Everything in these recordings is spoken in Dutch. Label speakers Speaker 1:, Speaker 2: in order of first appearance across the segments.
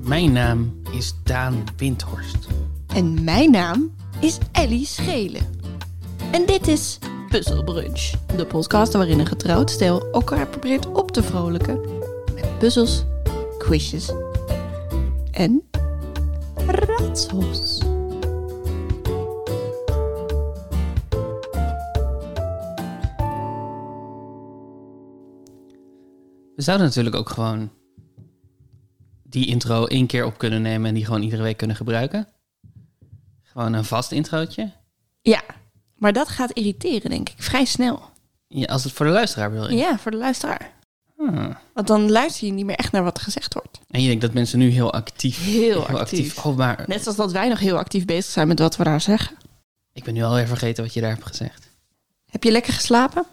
Speaker 1: Mijn naam is Daan Windhorst.
Speaker 2: En mijn naam is Ellie Schelen. En dit is Puzzelbrunch, de podcast waarin een getrouwd stel elkaar probeert op te vrolijken met puzzels, quizjes en raadsels.
Speaker 1: We zouden natuurlijk ook gewoon die intro één keer op kunnen nemen en die gewoon iedere week kunnen gebruiken. Gewoon een vast introotje.
Speaker 2: Ja, maar dat gaat irriteren, denk ik, vrij snel.
Speaker 1: Ja, als het voor de luisteraar wil.
Speaker 2: Ja, voor de luisteraar.
Speaker 1: Ah.
Speaker 2: Want dan luister je niet meer echt naar wat er gezegd wordt.
Speaker 1: En je denkt dat mensen nu heel actief...
Speaker 2: Heel
Speaker 1: Oh, maar
Speaker 2: Net zoals dat wij nog heel actief bezig zijn met wat we daar zeggen.
Speaker 1: ik ben nu alweer vergeten wat je daar hebt gezegd.
Speaker 2: Heb je lekker geslapen?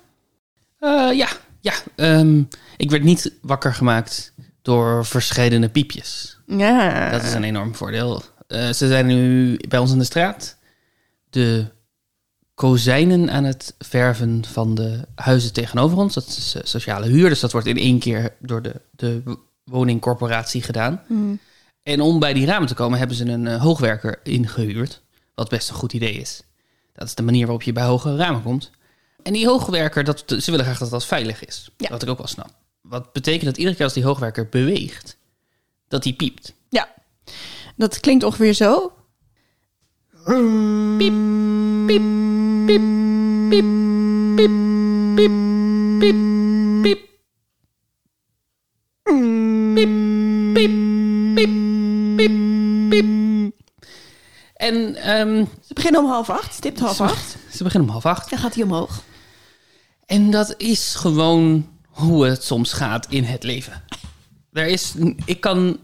Speaker 1: Eh, ja, ja. ehm, ik werd niet wakker gemaakt door verschillende piepjes.
Speaker 2: Ja.
Speaker 1: Dat is een enorm voordeel. Eh, ze zijn nu bij ons in de straat de kozijnen aan het verven van de huizen tegenover ons. Dat is eh, sociale huur, dus dat wordt in één keer door de, de w- woningcorporatie gedaan.
Speaker 2: Mhm.
Speaker 1: En om bij die ramen te komen hebben ze een eh, hoogwerker ingehuurd, wat best een goed idee is. Dat is de manier waarop je bij hoge ramen komt. En die hoogwerker, dat, ze willen graag dat dat veilig is.
Speaker 2: Ja.
Speaker 1: Wat ik ook wel snap. Wat betekent dat iedere keer als die hoogwerker beweegt, dat die piept.
Speaker 2: Ja. Dat klinkt ongeveer zo. Piep, piep, piep, piep, piep, piep, piep, piep. Piep, piep, piep, piep, piep.
Speaker 1: En ehm,
Speaker 2: Ze beginnen om half acht, stipt half
Speaker 1: Ze-
Speaker 2: acht.
Speaker 1: ze beginnen om half acht.
Speaker 2: Dan gaat hij omhoog.
Speaker 1: En dat is gewoon hoe het soms gaat in het leven. Er is, ik, kan,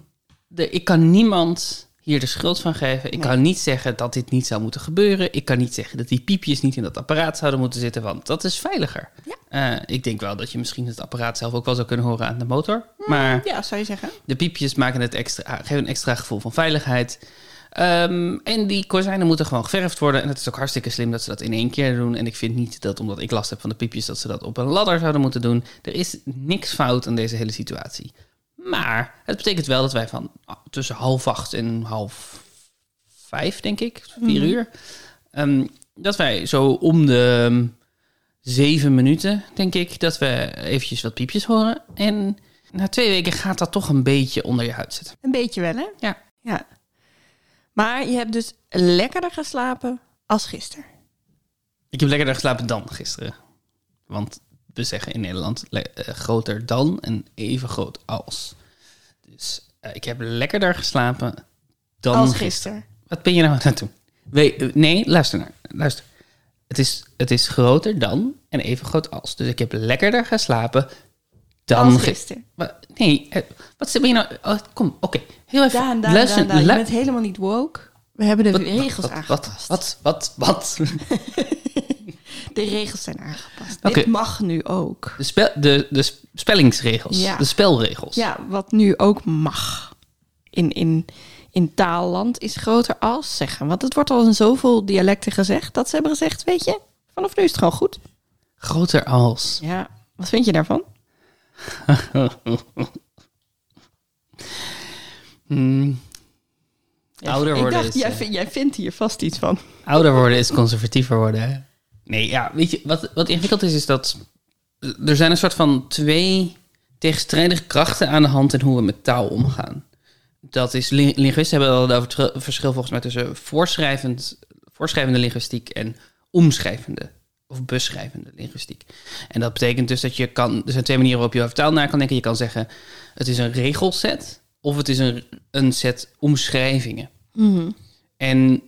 Speaker 1: er, ik kan niemand hier de schuld van geven. Ik kan niet zeggen dat dit niet zou moeten gebeuren. Ik kan niet zeggen dat die piepjes niet in dat apparaat zouden moeten zitten, want dat is veiliger.
Speaker 2: Ja.
Speaker 1: Eh, ik denk wel dat je misschien het apparaat zelf ook wel zou kunnen horen aan de motor. Maar
Speaker 2: Ja, zou je zeggen.
Speaker 1: de piepjes maken het extra, geven een extra gevoel van veiligheid. Ehm, en die kozijnen moeten gewoon geverfd worden. En het is ook hartstikke slim dat ze dat in één keer doen. En ik vind niet dat omdat ik last heb van de piepjes, dat ze dat op een ladder zouden moeten doen. Er is niks fout aan deze hele situatie. Maar het betekent wel dat wij van ah, tussen half acht en half vijf, denk ik, vier uur. ehm, dat wij zo om de ehm, zeven minuten, denk ik, dat we eventjes wat piepjes horen. En na twee weken gaat dat toch een beetje onder je huid zitten.
Speaker 2: Een beetje wel, hè?
Speaker 1: Ja.
Speaker 2: Ja. Maar je hebt dus lekkerder geslapen als gisteren.
Speaker 1: Ik heb lekkerder geslapen dan gisteren. Want we zeggen in Nederland le- eh, groter dan en even groot als. Dus eh, ik heb lekkerder geslapen dan
Speaker 2: als
Speaker 1: gisteren.
Speaker 2: gisteren.
Speaker 1: Wat ben je nou aan het doen? We- eh, nee, luister naar. Luister. Het is, het is groter dan en even groot als. Dus ik heb lekkerder geslapen dan
Speaker 2: Als
Speaker 1: gisteren.
Speaker 2: gisteren.
Speaker 1: Wa- Nee, eh, wat ben je nou? oh, kom, oké. Heel even.
Speaker 2: Daan, Daan,
Speaker 1: luister,
Speaker 2: Daan, Daan, je
Speaker 1: lu-
Speaker 2: bent helemaal niet woke. We hebben de
Speaker 1: Wat-
Speaker 2: regels
Speaker 1: wat,
Speaker 2: aangepast.
Speaker 1: Wat, wat, wat? wat?
Speaker 2: De regels zijn aangepast.
Speaker 1: Oké.
Speaker 2: Dit mag nu ook.
Speaker 1: De, spel, de, de sp- spellingsregels.
Speaker 2: Ja.
Speaker 1: De spelregels.
Speaker 2: Ja, wat nu ook mag in, in, in taalland is groter als zeggen. Want het wordt al in zoveel dialecten gezegd dat ze hebben gezegd, weet je, vanaf nu is het gewoon goed.
Speaker 1: Groter als.
Speaker 2: Ja, wat vind je daarvan?
Speaker 1: Hmm, Ouder worden
Speaker 2: Ik dacht,
Speaker 1: is,
Speaker 2: jij,
Speaker 1: eh,
Speaker 2: vind- jij vindt hier vast iets van.
Speaker 1: Ouder worden is conservatiever worden. Hè? Nee, ja, weet je, wat, wat ingewikkeld is, is dat er zijn een soort van twee tegenstrijdige krachten aan de hand in hoe we met taal omgaan. Dat is, lin- linguisten hebben al over het verschil volgens mij tussen voorschrijvend, voorschrijvende linguïstiek en omschrijvende of beschrijvende linguïstiek. En dat betekent dus dat je kan, er zijn twee manieren waarop je over taal na kan denken. Je kan zeggen, het is een regelset of het is een, een set omschrijvingen. En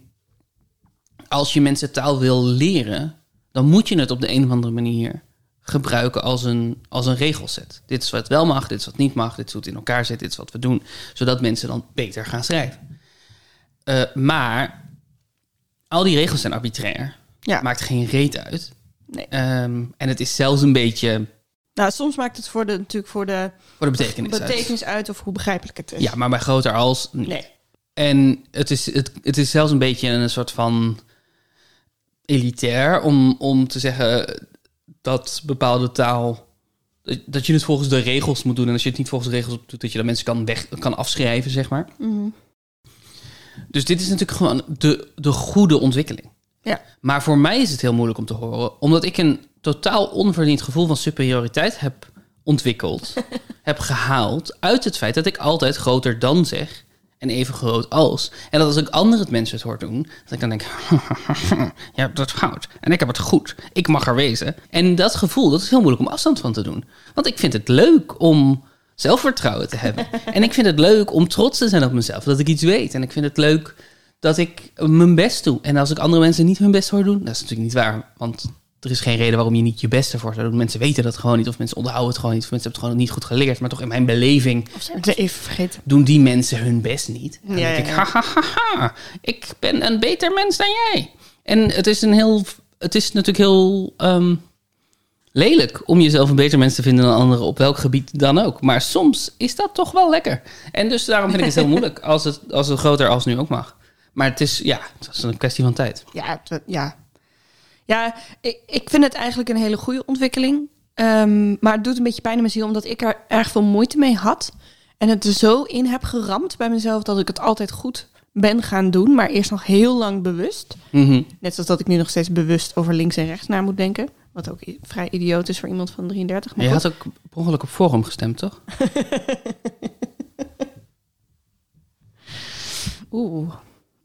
Speaker 1: als je mensen taal wil leren, dan moet je het op de een of andere manier gebruiken als een, als een regelset. Dit is wat wel mag, dit is wat niet mag, dit is hoe het in elkaar zit, dit is wat we doen. Zodat mensen dan beter gaan schrijven. Eh, maar al die regels zijn arbitrair.
Speaker 2: Ja.
Speaker 1: Maakt geen reet uit.
Speaker 2: Nee.
Speaker 1: Ehm, en het is zelfs een beetje
Speaker 2: Nou, soms maakt het voor de, natuurlijk voor de
Speaker 1: voor de betekenis, uit.
Speaker 2: betekenis uit of hoe begrijpelijk het is.
Speaker 1: Ja, maar bij groter als...
Speaker 2: Nee.
Speaker 1: En het is, het, het is zelfs een beetje een soort van elitair om, om te zeggen dat bepaalde taal dat- dat je het volgens de regels moet doen. En als je het niet volgens de regels doet, dat je dan mensen kan, weg, kan afschrijven, zeg maar.
Speaker 2: Mhm.
Speaker 1: Dus dit is natuurlijk gewoon de, de goede ontwikkeling.
Speaker 2: Ja.
Speaker 1: Maar voor mij is het heel moeilijk om te horen, omdat ik een totaal onverdiend gevoel van superioriteit heb ontwikkeld, heb gehaald uit het feit dat ik altijd groter dan zeg en even groot als. En dat als ik andere mensen het hoor doen, dat ik dan denk, je hebt dat fout en ik heb het goed, ik mag er wezen. En dat gevoel, dat is heel moeilijk om afstand van te doen. Want ik vind het leuk om zelfvertrouwen te hebben. en ik vind het leuk om trots te zijn op mezelf, dat ik iets weet. En ik vind het leuk dat ik mijn best doe. En als ik andere mensen niet hun best hoor doen, dat is natuurlijk niet waar. Want er is geen reden waarom je niet je best ervoor zou doen. Mensen weten dat gewoon niet, of mensen onthouden het gewoon niet, of mensen hebben het gewoon niet goed geleerd. Maar toch in mijn beleving
Speaker 2: Of zijn we het even vergeten?
Speaker 1: doen die mensen hun best niet. En dan
Speaker 2: Ja,
Speaker 1: denk
Speaker 2: ja,
Speaker 1: ik,
Speaker 2: ja.
Speaker 1: ha, ha, ha, ha, ik ben een beter mens dan jij. En het is, een heel, het is natuurlijk heel ehm, lelijk om jezelf een beter mens te vinden dan anderen, op welk gebied dan ook. Maar soms is dat toch wel lekker. En dus daarom vind ik het heel moeilijk, als het, als het groter als nu ook mag. Maar het is, ja, het is een kwestie van tijd.
Speaker 2: Ja, het- ja. ja ik, ik vind het eigenlijk een hele goede ontwikkeling. Ehm, maar het doet een beetje pijn in mijn ziel, omdat ik er erg veel moeite mee had. En het er zo in heb geramd bij mezelf dat ik het altijd goed ben gaan doen. Maar eerst nog heel lang bewust.
Speaker 1: Mhm.
Speaker 2: Net zoals dat ik nu nog steeds bewust over links en rechts naar moet denken. Wat ook i- vrij idioot is voor iemand van 33. Maar
Speaker 1: Je
Speaker 2: goed.
Speaker 1: had ook per ongeluk op Forum gestemd, toch?
Speaker 2: Oeh,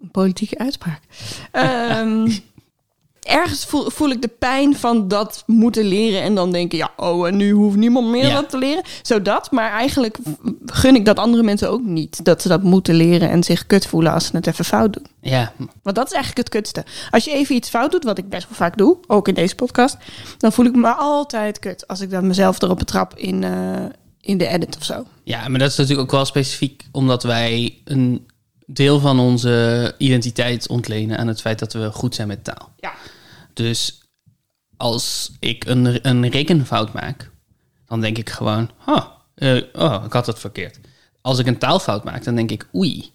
Speaker 2: een politieke uitspraak. Ehm, ergens voel, voel ik de pijn van dat moeten leren en dan denken, ja, oh, en nu hoeft niemand meer
Speaker 1: Ja.
Speaker 2: dat te leren. Zo dat, maar eigenlijk v- gun ik dat andere mensen ook niet. Dat ze dat moeten leren en zich kut voelen als ze het even fout doen.
Speaker 1: Ja,
Speaker 2: Want dat is eigenlijk het kutste. Als je even iets fout doet, wat ik best wel vaak doe, ook in deze podcast, dan voel ik me altijd kut als ik dan mezelf erop betrap in, eh, in de edit of zo.
Speaker 1: Ja, maar dat is natuurlijk ook wel specifiek omdat wij een deel van onze identiteit ontlenen aan het feit dat we goed zijn met taal.
Speaker 2: Ja.
Speaker 1: Dus als ik een, een rekenfout maak, dan denk ik gewoon, oh, eh, oh, ik had dat verkeerd. Als ik een taalfout maak, dan denk ik, oei,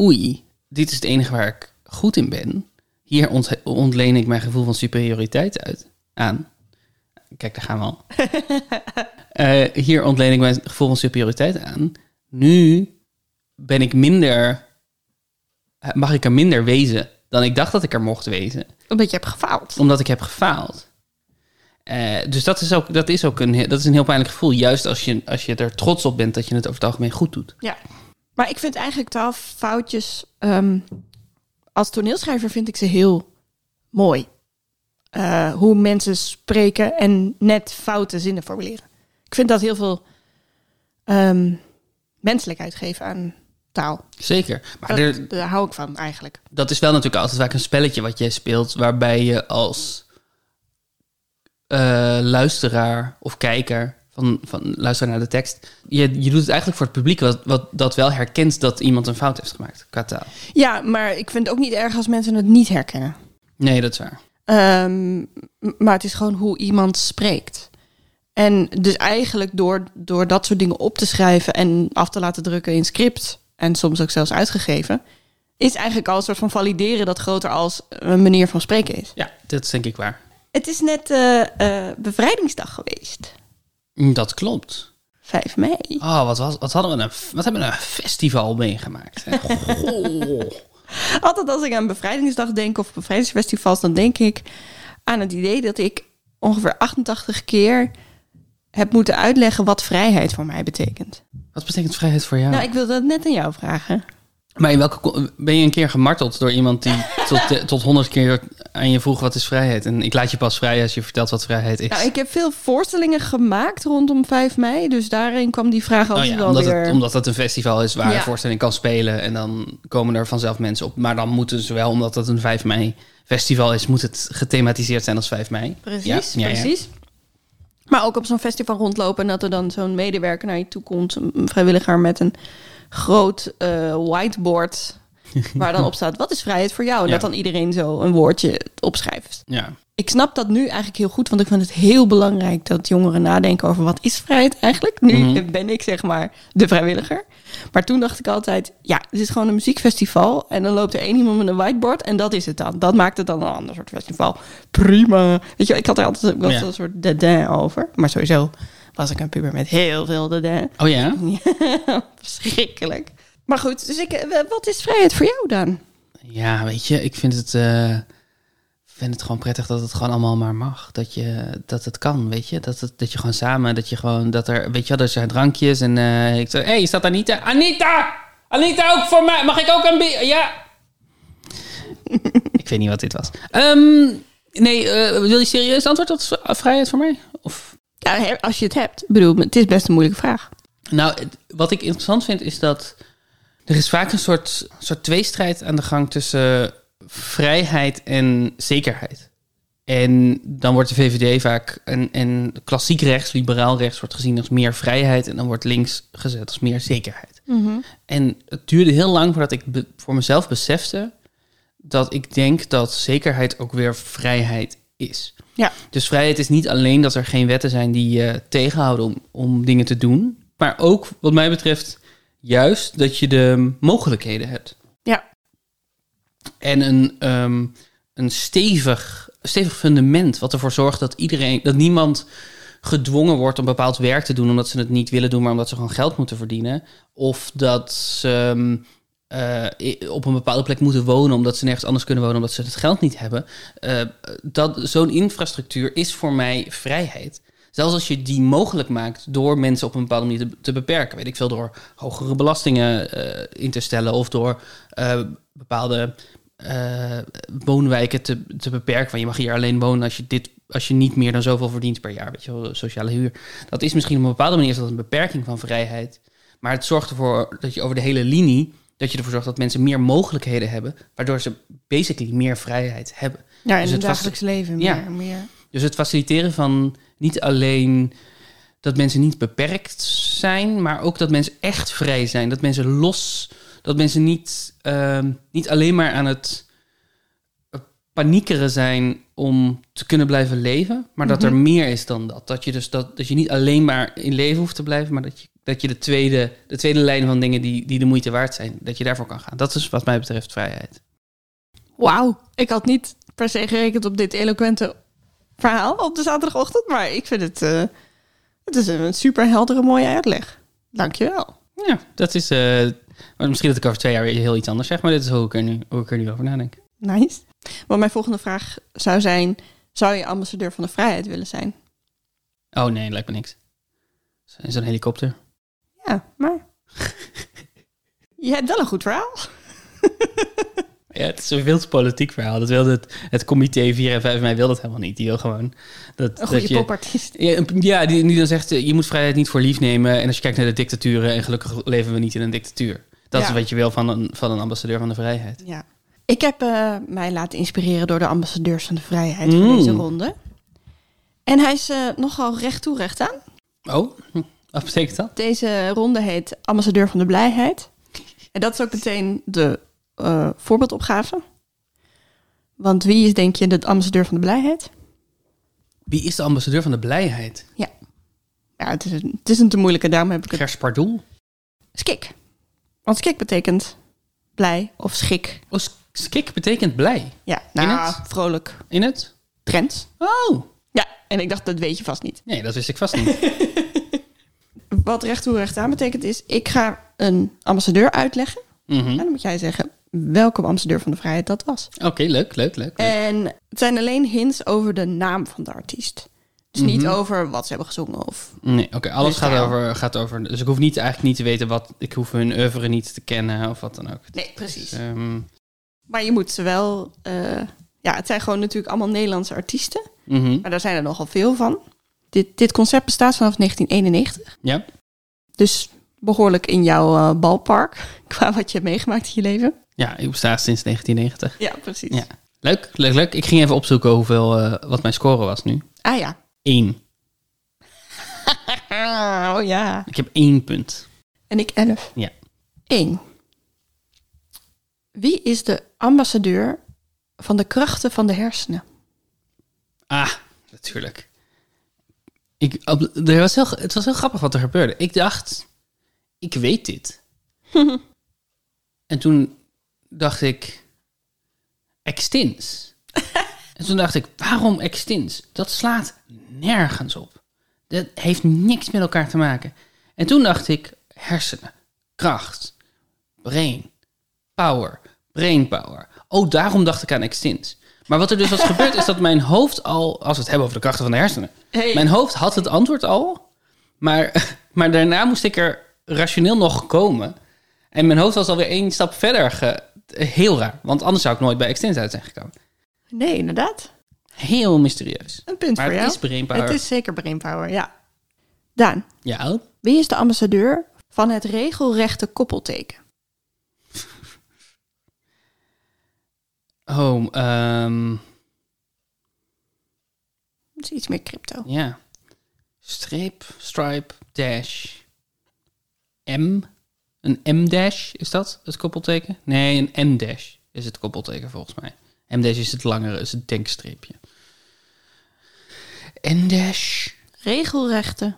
Speaker 1: oei, dit is het enige waar ik goed in ben. Hier ont- ontleen ik mijn gevoel van superioriteit uit, aan. Kijk, daar gaan we al. Eh, hier ontleen ik mijn gevoel van superioriteit aan. Nu ben ik minder, eh, mag ik er minder wezen dan ik dacht dat ik er mocht wezen,
Speaker 2: Omdat je hebt gefaald.
Speaker 1: omdat ik heb gefaald. Eh, dus dat is ook, dat is ook een, he- dat is een heel pijnlijk gevoel, juist als je, als je er trots op bent dat je het over het algemeen goed doet.
Speaker 2: Ja. Maar ik vind eigenlijk taalfoutjes... ehm, als toneelschrijver vind ik ze heel mooi. Eh, hoe mensen spreken en net foute zinnen formuleren. Ik vind dat heel veel ehm, menselijkheid geven aan taal.
Speaker 1: Zeker. Maar
Speaker 2: Dat-
Speaker 1: er,
Speaker 2: daar hou ik van eigenlijk.
Speaker 1: dat is wel natuurlijk altijd vaak een spelletje wat jij speelt, waarbij je als eh, luisteraar of kijker van, van luisteren naar de tekst, je, je doet het eigenlijk voor het publiek wat, wat dat wel herkent dat iemand een fout heeft gemaakt qua taal.
Speaker 2: Ja, maar ik vind het ook niet erg als mensen het niet herkennen.
Speaker 1: Nee, dat is waar.
Speaker 2: Ehm, m- maar het is gewoon hoe iemand spreekt. En dus eigenlijk door, door dat soort dingen op te schrijven en af te laten drukken in script en soms ook zelfs uitgegeven, is eigenlijk al een soort van valideren dat groter als een manier van spreken is.
Speaker 1: Ja, dat is denk ik waar.
Speaker 2: Het is net eh, eh, bevrijdingsdag geweest,
Speaker 1: Mm, Dat klopt.
Speaker 2: 5 mei.
Speaker 1: Oh, wat, was, wat, hadden we een, f- wat hebben we een festival meegemaakt? hè? Goh.
Speaker 2: Altijd als ik aan bevrijdingsdag denk of bevrijdingsfestivals, dan denk ik aan het idee dat ik ongeveer 88 keer heb moeten uitleggen wat vrijheid voor mij betekent.
Speaker 1: Wat betekent vrijheid voor jou?
Speaker 2: Nou, ik wilde dat net aan jou vragen.
Speaker 1: Maar in welke, co- ben je een keer gemarteld door iemand die tot, eh, tot honderd keer aan je vroeg wat is vrijheid? En ik laat je pas vrij als je vertelt wat vrijheid is.
Speaker 2: Nou, ik heb veel voorstellingen gemaakt rondom 5 mei. Dus daarin kwam die vraag
Speaker 1: Oh
Speaker 2: altijd
Speaker 1: ja,
Speaker 2: wel
Speaker 1: omdat,
Speaker 2: weer.
Speaker 1: het, omdat het een festival is waar
Speaker 2: Ja.
Speaker 1: een voorstelling kan spelen. En dan komen er vanzelf mensen op. Maar dan moeten ze wel, omdat het een 5 mei festival is, moet het gethematiseerd zijn als 5 mei.
Speaker 2: Precies,
Speaker 1: Ja, ja, ja.
Speaker 2: precies. Maar ook op zo'n festival rondlopen en dat er dan zo'n medewerker naar je toe komt, een vrijwilliger met een groot eh, whiteboard. Waar dan op staat, wat is vrijheid voor jou? En
Speaker 1: Ja.
Speaker 2: dat dan iedereen zo een woordje opschrijft.
Speaker 1: Ja.
Speaker 2: Ik snap dat nu eigenlijk heel goed, want ik vind het heel belangrijk dat jongeren nadenken over wat is vrijheid eigenlijk. Nu ben ik zeg maar de vrijwilliger. Maar toen dacht ik altijd, ja, het is gewoon een muziekfestival en dan loopt er één iemand met een whiteboard en dat is het dan. Dat maakt het dan een ander soort festival. Prima. Weet je, wel, ik had er altijd wel
Speaker 1: Ja.
Speaker 2: zo'n soort dédain over, maar sowieso was ik een puber met heel veel deden.
Speaker 1: Oh ja?
Speaker 2: Verschrikkelijk. Maar goed, dus ik, eh, wat is vrijheid voor jou dan?
Speaker 1: Ja, weet je, ik vind het, eh, vind het gewoon prettig dat het gewoon allemaal maar mag. Dat, je, dat het kan, weet je. Dat, het, dat je gewoon samen, dat je gewoon, dat er, weet je wel, er zijn drankjes. En eh, ik zeg, hé, hey, is dat Anita? Anita! Anita, ook voor mij. Mag ik ook een bier? Ja. ik weet niet wat dit was. Ehm, nee, eh, wil je serieus antwoord op v- vrijheid voor mij? Of...
Speaker 2: Ja, hè, als je het hebt. Ik bedoel, het is best een moeilijke vraag.
Speaker 1: Nou, het- wat ik interessant vind is dat er is vaak een soort, soort tweestrijd aan de gang tussen vrijheid en zekerheid. En dan wordt de VVD vaak en, en klassiek rechts, liberaal rechts, wordt gezien als meer vrijheid. En dan wordt links gezet als meer zekerheid. En het duurde heel lang voordat ik be- voor mezelf besefte dat ik denk dat zekerheid ook weer vrijheid is.
Speaker 2: Ja.
Speaker 1: Dus vrijheid is niet alleen dat er geen wetten zijn die je tegenhouden om, om dingen te doen. Maar ook, wat mij betreft, juist dat je de mogelijkheden hebt.
Speaker 2: Ja.
Speaker 1: En een, ehm, een stevig, stevig fundament wat ervoor zorgt dat iedereen, dat niemand gedwongen wordt om bepaald werk te doen omdat ze het niet willen doen, maar omdat ze gewoon geld moeten verdienen. Of dat ze ehm, eh, i- op een bepaalde plek moeten wonen omdat ze nergens anders kunnen wonen omdat ze het geld niet hebben. Eh, dat zo'n infrastructuur is voor mij vrijheid. Zelfs als je die mogelijk maakt door mensen op een bepaalde manier te, te beperken. Weet ik veel, door hogere belastingen eh, in te stellen of door eh, bepaalde eh, woonwijken te, te beperken. Want je mag hier alleen wonen als je, dit, als je niet meer dan zoveel verdient per jaar. Weet je wel, sociale huur. Dat is misschien op een bepaalde manier is dat een beperking van vrijheid. Maar het zorgt ervoor dat je over de hele linie, dat je ervoor zorgt dat mensen meer mogelijkheden hebben. Waardoor ze basically meer vrijheid hebben.
Speaker 2: Ja, in
Speaker 1: Dus
Speaker 2: het
Speaker 1: het was-
Speaker 2: dagelijks leven meer.
Speaker 1: Ja.
Speaker 2: meer.
Speaker 1: Dus het faciliteren van niet alleen dat mensen niet beperkt zijn, maar ook dat mensen echt vrij zijn. Dat mensen los, dat mensen niet, ehm, niet alleen maar aan het eh, paniekeren zijn om te kunnen blijven leven, maar dat er meer is dan dat. Dat je dus dat, dat je niet alleen maar in leven hoeft te blijven, maar dat je, dat je de, tweede, de tweede lijn van dingen die, die de moeite waard zijn, dat je daarvoor kan gaan. Dat is wat mij betreft vrijheid.
Speaker 2: Wauw, ik had niet per se gerekend op dit eloquente verhaal op de zaterdagochtend, maar ik vind het, eh, het is een super heldere, mooie uitleg. Dankjewel.
Speaker 1: Ja, dat is. eh, maar misschien dat ik over twee jaar weer heel iets anders zeg, maar dit is hoe ik er nu, hoe ik er nu over nadenk.
Speaker 2: Nice. Want mijn volgende vraag zou zijn, zou je ambassadeur van de vrijheid willen zijn?
Speaker 1: Oh nee, lijkt me niks. Zo- Zo'n helikopter.
Speaker 2: Ja, maar... je hebt wel een goed verhaal.
Speaker 1: Ja, het is een wild politiek verhaal. Dat wilde het, het comité 4 en 5 mei wil dat helemaal niet. Die wil gewoon dat,
Speaker 2: Een
Speaker 1: dat
Speaker 2: goede
Speaker 1: je.
Speaker 2: popartiest.
Speaker 1: Ja, een- ja, die nu dan zegt, eh, je moet vrijheid niet voor lief nemen. En als je kijkt naar de dictaturen, en gelukkig leven we niet in een dictatuur. Dat
Speaker 2: Ja.
Speaker 1: is wat je wil van een, van een ambassadeur van de vrijheid.
Speaker 2: Ja. Ik heb eh, mij laten inspireren door de ambassadeurs van de vrijheid
Speaker 1: Mm.
Speaker 2: van deze ronde. En hij is eh, nogal recht toe, recht aan.
Speaker 1: Oh, hm, wat betekent dat?
Speaker 2: Deze ronde heet Ambassadeur van de Blijheid. En dat is ook meteen de eh, voorbeeldopgave. Want wie is, denk je, de ambassadeur van de blijheid?
Speaker 1: Wie is de ambassadeur van de blijheid?
Speaker 2: Ja, het is een, het is een te moeilijke, daarom heb ik het.
Speaker 1: Gers Pardoel?
Speaker 2: Skik. Want skik betekent blij of schik.
Speaker 1: Oh, s- skik betekent blij
Speaker 2: Ja,
Speaker 1: In
Speaker 2: nou,
Speaker 1: het?
Speaker 2: vrolijk.
Speaker 1: in het
Speaker 2: Trends.
Speaker 1: Oh,
Speaker 2: Ja, en ik dacht, dat weet je vast niet.
Speaker 1: nee, dat wist ik vast niet.
Speaker 2: Wat recht toe recht aan betekent is, ik ga een ambassadeur uitleggen. En
Speaker 1: Mhm.
Speaker 2: dan moet jij zeggen welke ambassadeur van de vrijheid dat was.
Speaker 1: Oké, leuk, leuk, leuk. leuk.
Speaker 2: En het zijn alleen hints over de naam van de artiest. Dus niet over wat ze hebben gezongen of...
Speaker 1: Nee, oké, alles
Speaker 2: dus
Speaker 1: gaat
Speaker 2: daar-
Speaker 1: over, gaat over. Dus ik hoef niet, eigenlijk niet te weten wat. Ik hoef hun oeuvre niet te kennen of wat dan ook.
Speaker 2: Nee,
Speaker 1: Dus,
Speaker 2: precies.
Speaker 1: ehm,
Speaker 2: Maar je moet ze wel... eh, ja, het zijn gewoon natuurlijk allemaal Nederlandse artiesten.
Speaker 1: mhm.
Speaker 2: Maar daar zijn er nogal veel van. Dit, dit concept bestaat vanaf 1991.
Speaker 1: Ja.
Speaker 2: Dus behoorlijk in jouw eh, balpark qua wat je hebt meegemaakt in je leven.
Speaker 1: Ja, ik besta sinds 1990.
Speaker 2: Ja, precies.
Speaker 1: Ja. Leuk, leuk, leuk. Ik ging even opzoeken hoeveel, eh, wat mijn score was nu.
Speaker 2: Ah ja.
Speaker 1: Eén.
Speaker 2: Ah, oh ja.
Speaker 1: Ik heb één punt.
Speaker 2: En ik elf.
Speaker 1: Ja.
Speaker 2: 1. Wie is de ambassadeur van de krachten van de hersenen?
Speaker 1: Ah, natuurlijk. Ik, op- er was heel, het was heel grappig wat er gebeurde. Ik dacht, ik weet dit. en toen dacht ik, extins. en toen dacht ik, waarom extins? Dat slaat nergens op. De- Dat heeft niks met elkaar te maken. En toen dacht ik, hersenen, kracht, brain, power, brain power. Oh, daarom dacht ik aan extint. Maar wat er dus was gebeurd is dat mijn hoofd al, als we het hebben over de krachten van de hersenen,
Speaker 2: Hey.
Speaker 1: mijn hoofd had het antwoord al, maar, maar daarna moest ik er rationeel nog komen. En mijn hoofd was alweer één stap verder. Ge, heel raar, want anders zou ik nooit bij extint uit zijn gekomen.
Speaker 2: Nee, inderdaad.
Speaker 1: Heel mysterieus.
Speaker 2: Een punt
Speaker 1: Maar
Speaker 2: voor
Speaker 1: het
Speaker 2: jou.
Speaker 1: is brainpower.
Speaker 2: Het is zeker brainpower, ja. Daan,
Speaker 1: Ja,
Speaker 2: wie is de ambassadeur van het regelrechte koppelteken?
Speaker 1: oh, ehm,
Speaker 2: Dat is iets meer crypto.
Speaker 1: Ja. Streep, stripe, dash. M. Een M-dash is dat het koppelteken? Nee, een M-dash is het koppelteken volgens mij. M-dash is het langere, is het denkstreepje. N-dash.
Speaker 2: Regelrechte.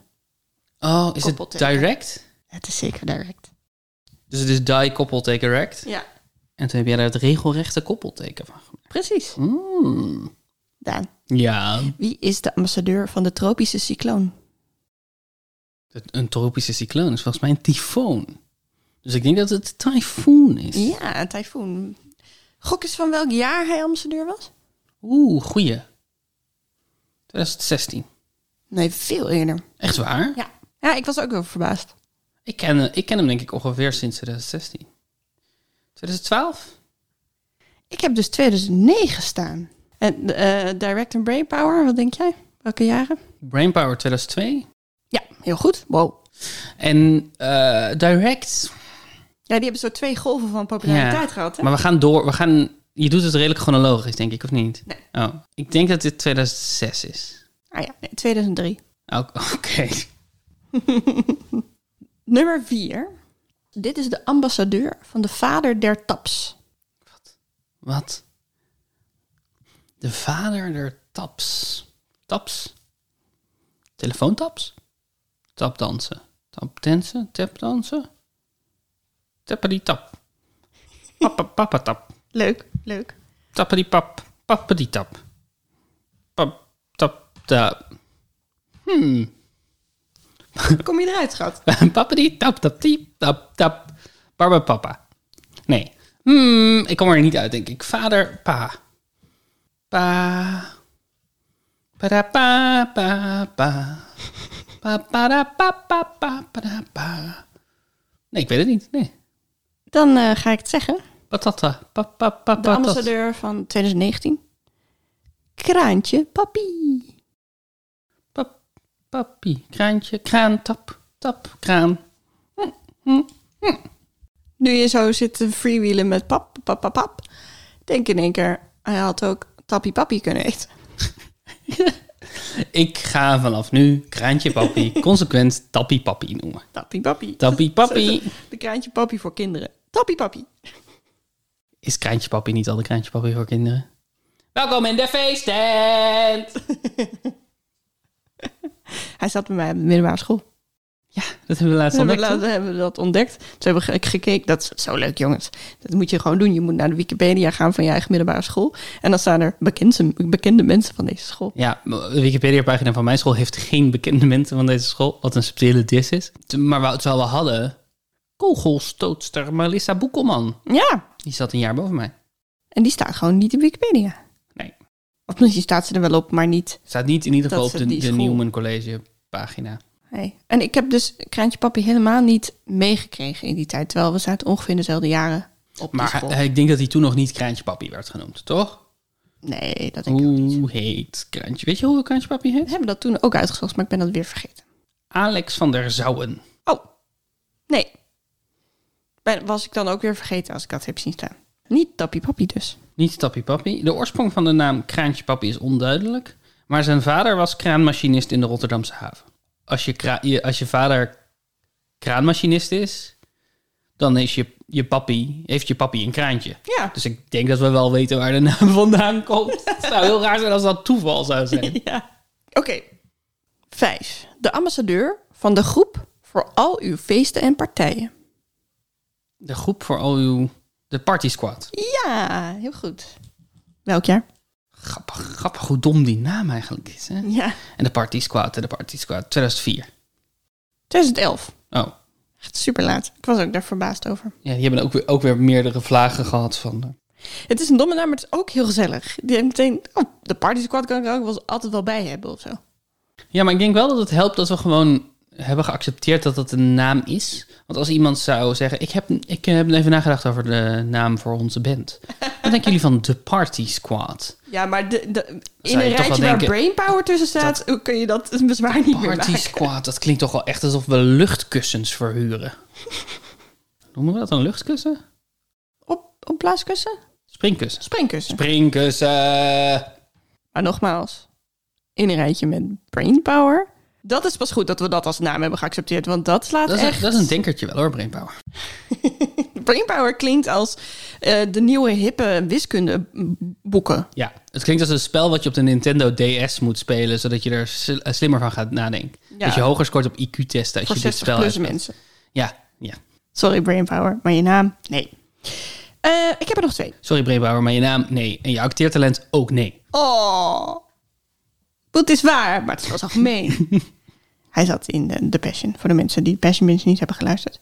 Speaker 1: Oh, is het
Speaker 2: Koppelteken.
Speaker 1: direct?
Speaker 2: Het is zeker direct.
Speaker 1: Dus het is die koppelteken rect.
Speaker 2: Ja,
Speaker 1: En toen heb jij daar het regelrechte koppelteken van gemaakt.
Speaker 2: precies.
Speaker 1: Mm.
Speaker 2: Daan,
Speaker 1: Ja.
Speaker 2: wie is de ambassadeur van de tropische cycloon?
Speaker 1: Het- Een tropische cycloon is volgens mij een tyfoon. Dus ik denk dat het tyfoon is.
Speaker 2: Ja, een tyfoon. Gok eens van welk jaar hij ambassadeur was?
Speaker 1: Oeh, goeie. 2016.
Speaker 2: Nee, veel eerder.
Speaker 1: Echt waar?
Speaker 2: Ja, ja ik was ook wel verbaasd.
Speaker 1: Ik, ken, eh, ik ken hem denk ik ongeveer sinds 2016. 2012?
Speaker 2: Ik heb dus 2009 staan. En eh, Direct and Brain Power, wat denk jij? Welke jaren?
Speaker 1: Brainpower 2002.
Speaker 2: Ja, heel goed. Wow.
Speaker 1: En eh, Direct.
Speaker 2: Ja, die hebben zo twee golven van populariteit
Speaker 1: Ja.
Speaker 2: gehad, hè?
Speaker 1: Maar we gaan door. We gaan, je doet het redelijk chronologisch, denk ik, of niet?
Speaker 2: Nee.
Speaker 1: Oh, ik denk dat dit 2006 is.
Speaker 2: Ah ja, nee, 2003.
Speaker 1: Oh, Oké.
Speaker 2: Nummer 4. Dit is de ambassadeur van de vader der taps.
Speaker 1: Wat? De vader der taps. Taps? Telefoontaps? Tapdansen. Tapdansen? Tapdansen? Tappity tap. Papa, papa tap.
Speaker 2: Leuk, leuk.
Speaker 1: Tappity pap. Pappity tap. Pap, tap, da.
Speaker 2: Kom je eruit, schat?
Speaker 1: Pappity tap, tap, tiep, tap, tap. Barba, papa. Nee. Hmm, ik kom er niet uit, denk ik. Vader, pa. Pa. Para, pa, pa, pa. Pa, para, pa, pa, pa, para, pa. Nee, ik weet het niet. Nee.
Speaker 2: Dan eh, ga ik het zeggen.
Speaker 1: Patata. Pa, pa, pa,
Speaker 2: De
Speaker 1: patat.
Speaker 2: ambassadeur van 2019. Kraantje Papi.
Speaker 1: Pap, papi. Kraantje. Kraan. Tap. Tap. Kraan.
Speaker 2: Nu je zo zit te freewheelen met pap, pap, pap, pap. Denk in één keer, hij had ook Tappie Papi kunnen eten.
Speaker 1: Ik ga vanaf nu kraantje papi consequent tappie papi noemen.
Speaker 2: Tappie Papi.
Speaker 1: Tappie papi.
Speaker 2: De kraantje Papi voor kinderen. Tappie Papi.
Speaker 1: Is Kraantje Papi niet al de Kraantje Papi voor kinderen? Welkom in de feesttent!
Speaker 2: Hij zat bij mij op de middelbare school.
Speaker 1: Ja, dat hebben we laatst
Speaker 2: Toen hebben,
Speaker 1: ontdekt.
Speaker 2: we, laat- hebben we dat ontdekt. Toen hebben we ge- gekeken. Dat is zo leuk, jongens. Dat moet je gewoon doen. Je moet naar de Wikipedia gaan van je eigen middelbare school. En dan staan er bekende, bekende mensen van deze school.
Speaker 1: Ja, de Wikipedia-pagina van mijn school heeft geen bekende mensen van deze school. Wat een subtiele dis is. T- Maar we- terwijl we hadden kogelstootster Melissa Boekelman.
Speaker 2: Ja,
Speaker 1: Die zat een jaar boven mij.
Speaker 2: en die staat gewoon niet in Wikipedia.
Speaker 1: Nee,
Speaker 2: Of misschien staat ze er wel op, maar niet.
Speaker 1: staat niet in ieder
Speaker 2: Dat
Speaker 1: geval
Speaker 2: is
Speaker 1: op de,
Speaker 2: die
Speaker 1: de
Speaker 2: school.
Speaker 1: Newman College pagina.
Speaker 2: Nee. En ik heb dus Kraantje Papi helemaal niet meegekregen in die tijd. Terwijl we zaten ongeveer in dezelfde jaren op die
Speaker 1: Maar eh,
Speaker 2: school.
Speaker 1: hij- ik denk dat hij toen nog niet Kraantje Papi werd genoemd, toch?
Speaker 2: nee, dat denk ik ook niet.
Speaker 1: Hoe heet Kraantje? Weet je hoe Kraantje Papi
Speaker 2: We
Speaker 1: heet?
Speaker 2: hebben dat toen ook uitgezocht, maar ik ben dat weer vergeten.
Speaker 1: Alex van der Zouwen.
Speaker 2: Oh, nee. Ben, was ik dan ook weer vergeten als ik dat heb zien staan. Niet Tappie Papi dus.
Speaker 1: Niet Tappie Papi. De oorsprong van de naam Kraantje Papi is onduidelijk. Maar zijn vader was kraanmachinist in de Rotterdamse haven. Als je, kra- je- als je vader kraanmachinist is, dan is je, je papi, heeft je papi een kraantje.
Speaker 2: Ja.
Speaker 1: Dus ik denk dat we wel weten waar de naam vandaan komt. Het zou heel raar zijn als dat toeval zou zijn.
Speaker 2: ja. Oké. Vijf. De ambassadeur van de groep voor al uw feesten en partijen.
Speaker 1: De groep voor al uw... De party squad.
Speaker 2: Ja, heel goed. Welk jaar?
Speaker 1: Grappig, grappig hoe dom die naam eigenlijk is. Hè?
Speaker 2: Ja.
Speaker 1: En de Party Squad, de Party Squad, 2004.
Speaker 2: 2011.
Speaker 1: Oh,
Speaker 2: Echt super laat. Ik was ook daar verbaasd over.
Speaker 1: ja, die hebben ook weer, ook weer meerdere vlagen gehad van... eh,
Speaker 2: Het is een domme naam, maar het is ook heel gezellig. Die denkt meteen, oh, de party squad kan ik er ook wel altijd wel bij hebben of zo.
Speaker 1: Ja, maar ik denk wel dat het helpt dat we gewoon hebben geaccepteerd dat dat een naam is. Want als iemand zou zeggen, ik heb, ik eh, heb even nagedacht over de naam voor onze band. Wat denken jullie van The Party Squad?
Speaker 2: Ja, maar de, de, in
Speaker 1: Zou je
Speaker 2: een
Speaker 1: toch wel
Speaker 2: rijtje waar
Speaker 1: denken-
Speaker 2: brainpower tussen staat, hoe kun je dat bezwaar niet meer
Speaker 1: Party
Speaker 2: maken.
Speaker 1: Squad, dat klinkt toch wel echt alsof we luchtkussens verhuren. Noemen we dat een luchtkussen?
Speaker 2: Op, op plaatskussen?
Speaker 1: Springkussen.
Speaker 2: Springkussen.
Speaker 1: Springkussen!
Speaker 2: Maar nogmaals, in een rijtje met brainpower. Dat is pas goed dat we dat als naam hebben geaccepteerd, want dat slaat
Speaker 1: Dat is,
Speaker 2: echt...
Speaker 1: een, dat is een denkertje wel hoor, Brainpower.
Speaker 2: Brainpower klinkt als eh, de nieuwe hippe wiskundeboeken.
Speaker 1: Ja, het klinkt als een spel wat je op de Nintendo DS moet spelen... zodat je er sl- eh, slimmer van gaat nadenken.
Speaker 2: Ja.
Speaker 1: Dat je hoger scoort op IQ-testen als
Speaker 2: Voor
Speaker 1: je dit
Speaker 2: 60
Speaker 1: spel
Speaker 2: plus
Speaker 1: hebt.
Speaker 2: mensen.
Speaker 1: Ja, ja.
Speaker 2: Sorry Brainpower, maar je naam? Nee. Eh, ik heb er nog twee.
Speaker 1: Sorry Breedbouwer, maar je naam nee. En je acteertalent ook nee.
Speaker 2: Oh. Het is waar, maar het is wel zo gemeen. Hij zat in de, The Passion, voor de mensen die Passion Binge niet hebben geluisterd.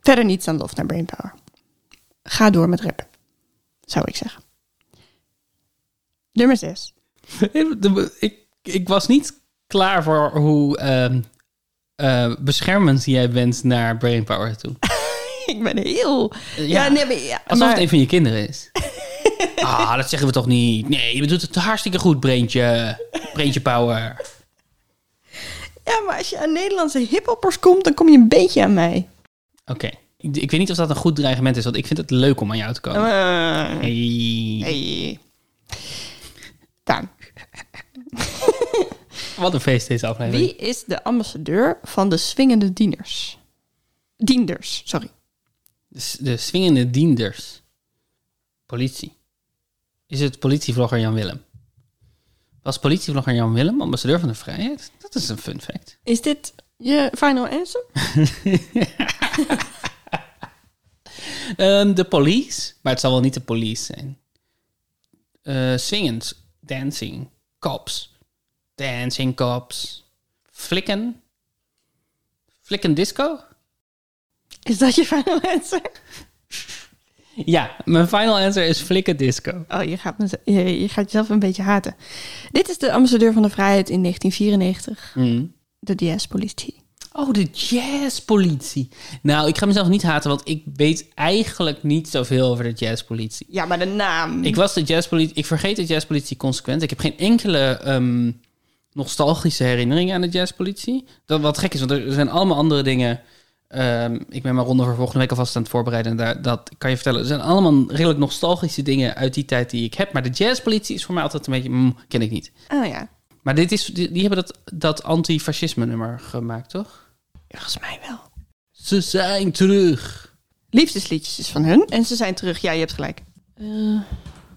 Speaker 2: Verder niets dan lof naar Brainpower. Ga door met rappen, zou ik zeggen. Nummer 6.
Speaker 1: ik, ik was niet klaar voor hoe ehm, eh, beschermend jij bent naar Brainpower toe.
Speaker 2: ik ben heel... Ja, nee, maar, ja,
Speaker 1: Alsof
Speaker 2: maar-
Speaker 1: het een van je kinderen is. ah, dat zeggen we toch niet. Nee, je doet het hartstikke goed, Breentje. Breentje Power.
Speaker 2: ja, maar als je aan Nederlandse hiphoppers komt, dan kom je een beetje aan mij.
Speaker 1: Oké. Ik, ik weet niet of dat een goed dreigement is, want ik vind het leuk om aan jou te komen.
Speaker 2: Eh,
Speaker 1: Hey.
Speaker 2: nee. Daan,
Speaker 1: Wat een feest deze aflevering.
Speaker 2: Wie is de ambassadeur van de swingende dieners? Dienders, sorry.
Speaker 1: De, s- de swingende dienders. Politie. Is het politievlogger Jan Willem? Was politievlogger Jan Willem ambassadeur van de vrijheid? Dat is een fun fact.
Speaker 2: Is dit je final answer?
Speaker 1: Ehm, de police, maar het zal wel niet de police zijn. Eh swingend, dancing, cops. Dancing cops. Flikken. Flikken disco?
Speaker 2: Is dat je final answer?
Speaker 1: Ja, mijn final answer is flikken disco.
Speaker 2: Oh, je gaat, me, je, je gaat jezelf een beetje haten. Dit is de ambassadeur van de vrijheid in 1994.
Speaker 1: Hmm.
Speaker 2: De DS-politie.
Speaker 1: Oh, de jazzpolitie. Nou, ik ga mezelf niet haten, want ik weet eigenlijk niet zoveel over de jazzpolitie.
Speaker 2: Ja, maar de naam.
Speaker 1: Ik was de jazzpolitie. Ik vergeet de jazzpolitie consequent. Ik heb geen enkele ehm, nostalgische herinnering aan de jazzpolitie. Dat wat gek is, want er zijn allemaal andere dingen. Ehm, ik ben mijn ronde voor volgende week alvast aan het voorbereiden. En daar, dat kan je vertellen. Er zijn allemaal redelijk nostalgische dingen uit die tijd die ik heb. Maar de jazzpolitie is voor mij altijd een beetje. mm, ken ik niet.
Speaker 2: Oh ja,
Speaker 1: Maar dit is, die, die hebben dat, dat antifascisme nummer gemaakt, toch?
Speaker 2: volgens mij wel.
Speaker 1: Ze zijn terug.
Speaker 2: Liefdesliedjes is van hun. En ze zijn terug. Ja, je hebt gelijk. Eh,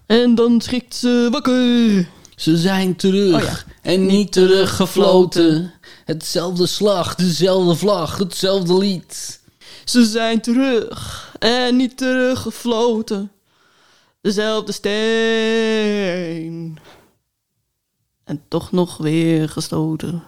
Speaker 2: en dan schrikt ze wakker.
Speaker 1: Ze zijn terug
Speaker 2: Oh
Speaker 1: en niet teruggefloten. Hetzelfde slag, dezelfde vlag, hetzelfde lied.
Speaker 2: Ze zijn terug en niet teruggefloten. Dezelfde steen. En toch nog weer gestoten.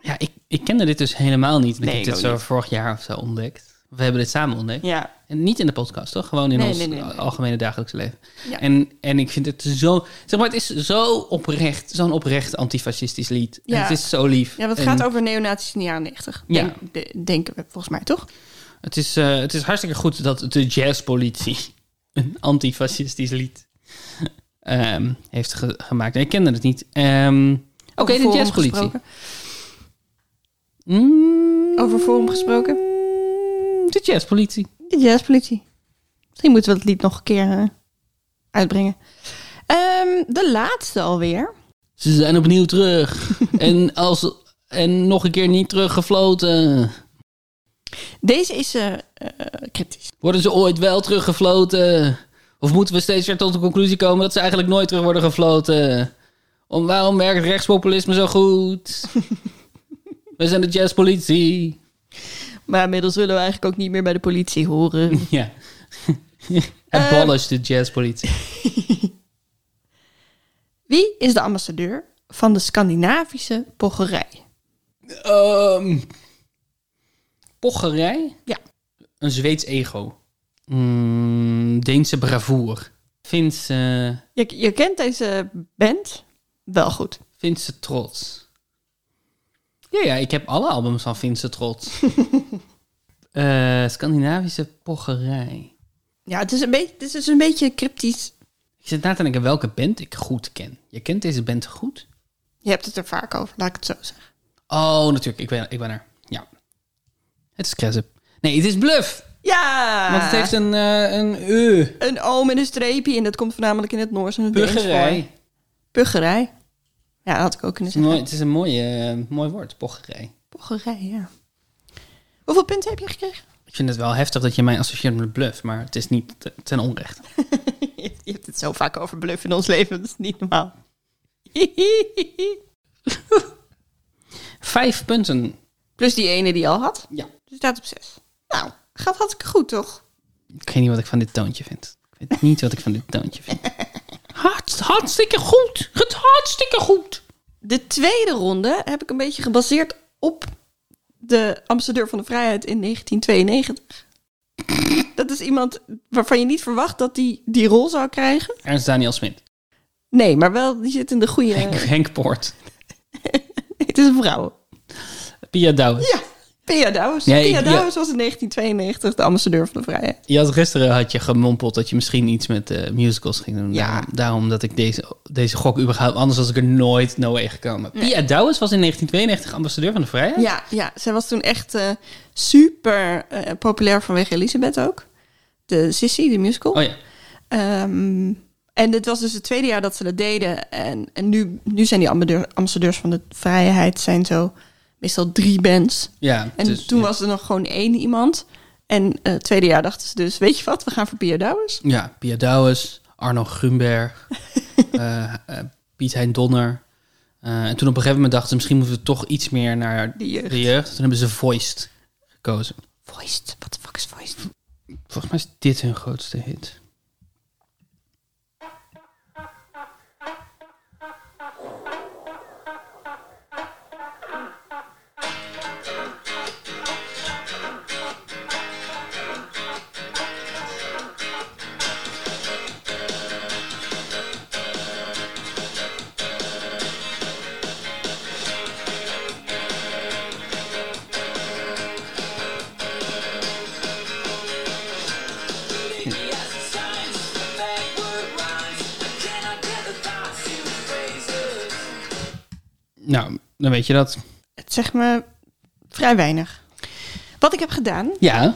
Speaker 1: Ja, ik, ik kende dit dus helemaal niet. want
Speaker 2: Nee,
Speaker 1: ik
Speaker 2: ik
Speaker 1: heb dit
Speaker 2: ook
Speaker 1: zo
Speaker 2: niet.
Speaker 1: vorig jaar of zo ontdekt. We hebben dit samen ontdekt.
Speaker 2: Ja.
Speaker 1: En niet in de podcast, toch? Gewoon in
Speaker 2: Nee,
Speaker 1: ons
Speaker 2: nee, nee, nee.
Speaker 1: algemene dagelijkse leven.
Speaker 2: Ja.
Speaker 1: En, en ik vind het zo... Zeg maar, het is zo oprecht, zo'n oprecht antifascistisch lied. En
Speaker 2: Ja.
Speaker 1: het is zo lief.
Speaker 2: Ja, dat
Speaker 1: En
Speaker 2: gaat over neonazies in de jaren 90.
Speaker 1: Ja.
Speaker 2: Denk- de- denken we volgens mij, toch?
Speaker 1: Het is, eh, het is hartstikke goed dat de jazzpolitie een antifascistisch lied ehm, heeft ge- gemaakt. Ik kende het niet. Ehm, Oké,
Speaker 2: Over
Speaker 1: de
Speaker 2: Forum
Speaker 1: jazzpolitie.
Speaker 2: gesproken.
Speaker 1: Mm,
Speaker 2: Over Forum gesproken.
Speaker 1: de jazzpolitie.
Speaker 2: De jazzpolitie. Misschien moeten we dat lied nog een keer eh, uitbrengen. Ehm, de laatste alweer.
Speaker 1: Ze zijn opnieuw terug. en, als, en nog een keer niet teruggefloten.
Speaker 2: Deze is eh, eh, cryptisch.
Speaker 1: Worden ze ooit wel teruggefloten? Of moeten we steeds weer tot de conclusie komen dat ze eigenlijk nooit terug worden gefloten? Om, waarom werkt rechtspopulisme zo goed? we zijn de jazzpolitie.
Speaker 2: Maar inmiddels willen we eigenlijk ook niet meer bij de politie horen.
Speaker 1: Ja. Abolish de jazzpolitie.
Speaker 2: Wie is de ambassadeur van de Scandinavische pocherij?
Speaker 1: Ehm pocherij?
Speaker 2: Ja.
Speaker 1: Een Zweeds ego. Mm, Deense bravoer. Finse,
Speaker 2: Je, je kent deze band wel goed.
Speaker 1: Finse trots. Ja, ja, ik heb alle albums van Finse trots. Eh, Scandinavische pocherij.
Speaker 2: Ja, het is een, beetje, het is dus een beetje cryptisch.
Speaker 1: Ik zit na te denken welke band ik goed ken. Je kent deze band goed?
Speaker 2: Je hebt het er vaak over, laat ik het zo zeggen.
Speaker 1: Oh, natuurlijk. Ik ben, ik ben er. Ja. Het is Kresip. Nee, het is Bluff.
Speaker 2: Ja!
Speaker 1: Want het heeft een, eh een U.
Speaker 2: Een oom en een streepje en dat komt voornamelijk in het Noors en het Deens voor.
Speaker 1: Puggerij.
Speaker 2: Puggerij. Ja, dat had ik ook
Speaker 1: Het is,
Speaker 2: kunnen zeggen.
Speaker 1: mooi, het is een mooi, eh, mooi woord, pocherij.
Speaker 2: Poggerij, ja. Hoeveel punten heb je gekregen?
Speaker 1: Ik vind het wel heftig dat je mij associeert met bluff, maar het is niet te- ten onrechte.
Speaker 2: Je hebt het zo vaak over bluff in ons leven, dat is niet normaal.
Speaker 1: Vijf punten.
Speaker 2: Plus die ene die je al had.
Speaker 1: Ja.
Speaker 2: Dus staat op zes. Nou, gaat hartstikke goed, toch?
Speaker 1: Ik weet niet wat ik van dit toontje vind. Ik weet niet wat ik van dit toontje vind. Hart, hartstikke goed. Het hartstikke goed.
Speaker 2: De tweede ronde heb ik een beetje gebaseerd op de ambassadeur van de vrijheid in 1992. Dat is iemand waarvan je niet verwacht dat die die rol zou krijgen.
Speaker 1: Ernst Daniel Smit.
Speaker 2: Nee, maar wel, die zit in de goede...
Speaker 1: Henk, Henk Poort.
Speaker 2: Het is een vrouw.
Speaker 1: Pia Douwes.
Speaker 2: Ja, Pia Douwes.
Speaker 1: Nee,
Speaker 2: Pia
Speaker 1: ik-
Speaker 2: Douwens was in 1992 de ambassadeur van de vrijheid.
Speaker 1: Je had gisteren had je gemompeld dat je misschien iets met eh, musicals ging doen.
Speaker 2: Ja.
Speaker 1: Daarom, daarom dat ik deze, deze gok überhaupt... Anders was ik er nooit no way gekomen. Pia Douwes was in 1992 ambassadeur van de vrijheid.
Speaker 2: Ja, ja zij was toen echt eh, super eh, populair vanwege Elisabeth ook. De Sissy, de musical.
Speaker 1: Oh ja.
Speaker 2: Ehm, en dit was dus het tweede jaar dat ze dat deden. En, en nu, nu zijn die ambassadeur- ambassadeurs van de vrijheid zijn zo meestal drie bands.
Speaker 1: ja
Speaker 2: En
Speaker 1: dus-
Speaker 2: toen
Speaker 1: ja.
Speaker 2: was er nog gewoon één iemand. En eh, het tweede jaar dachten ze dus, weet je wat, we gaan voor Pia Douwens.
Speaker 1: Ja, Pia Douwes, Arno Grunberg, eh, eh, Piet Hein Donner. Eh, en toen op een gegeven moment dachten ze, misschien moeten we toch iets meer naar
Speaker 2: De jeugd.
Speaker 1: de jeugd. Toen hebben ze Voiced gekozen.
Speaker 2: Voiced, what the fuck is Voiced?
Speaker 1: Volgens mij is dit hun grootste hit. Nou, dan weet je dat.
Speaker 2: Het zegt me vrij weinig. Wat ik heb gedaan
Speaker 1: Ja,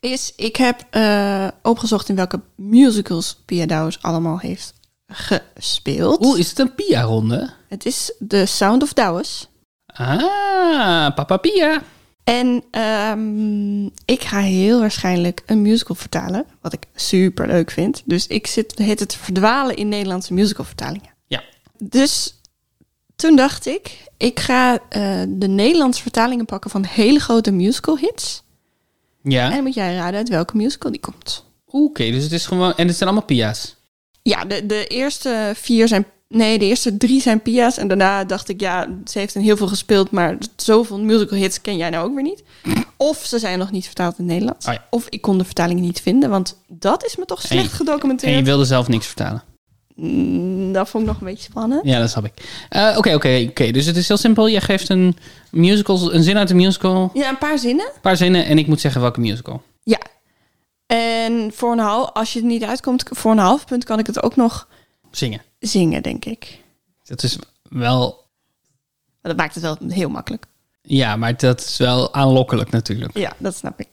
Speaker 2: is, ik heb eh, opgezocht in welke musicals Pia Douwes allemaal heeft gespeeld.
Speaker 1: hoe is het een Pia-ronde?
Speaker 2: Het is The Sound of Douwes.
Speaker 1: Ah, Papa Pia.
Speaker 2: En ehm, ik ga heel waarschijnlijk een musical vertalen, wat ik super leuk vind. Dus ik zit heet het verdwalen in Nederlandse musicalvertalingen.
Speaker 1: Ja,
Speaker 2: Dus toen dacht ik, ik ga eh, de Nederlandse vertalingen pakken van hele grote musical hits. En
Speaker 1: ja.
Speaker 2: dan moet jij raden uit welke musical die komt.
Speaker 1: Oké, dus het is gewoon... En het zijn allemaal Pia's.
Speaker 2: Ja, de, de eerste vier zijn. Nee, de eerste drie zijn Pia's. En daarna dacht ik, ja, ze heeft in heel veel gespeeld. Maar zoveel musical hits ken jij nou ook weer niet. Of ze zijn nog niet vertaald in het Nederlands.
Speaker 1: Oh ja.
Speaker 2: Of ik kon de vertaling niet vinden. Want dat is me toch slecht
Speaker 1: En je- En
Speaker 2: gedocumenteerd.
Speaker 1: je wilde zelf niks vertalen.
Speaker 2: Mm, dat vond ik nog een beetje spannend.
Speaker 1: Ja, dat snap ik. Eh, Oké, oké, oké. Dus het is heel simpel. Je geeft een, musical, een zin uit een musical,
Speaker 2: Ja, een paar zinnen.
Speaker 1: een paar zinnen en ik moet zeggen welke musical.
Speaker 2: Ja. En voor een half, als je er niet uitkomt, voor een half punt kan ik het ook nog
Speaker 1: Zingen.
Speaker 2: zingen, denk ik.
Speaker 1: Dat is wel...
Speaker 2: Dat maakt het wel heel makkelijk.
Speaker 1: Ja, maar dat is wel aanlokkelijk natuurlijk.
Speaker 2: Ja, dat snap ik.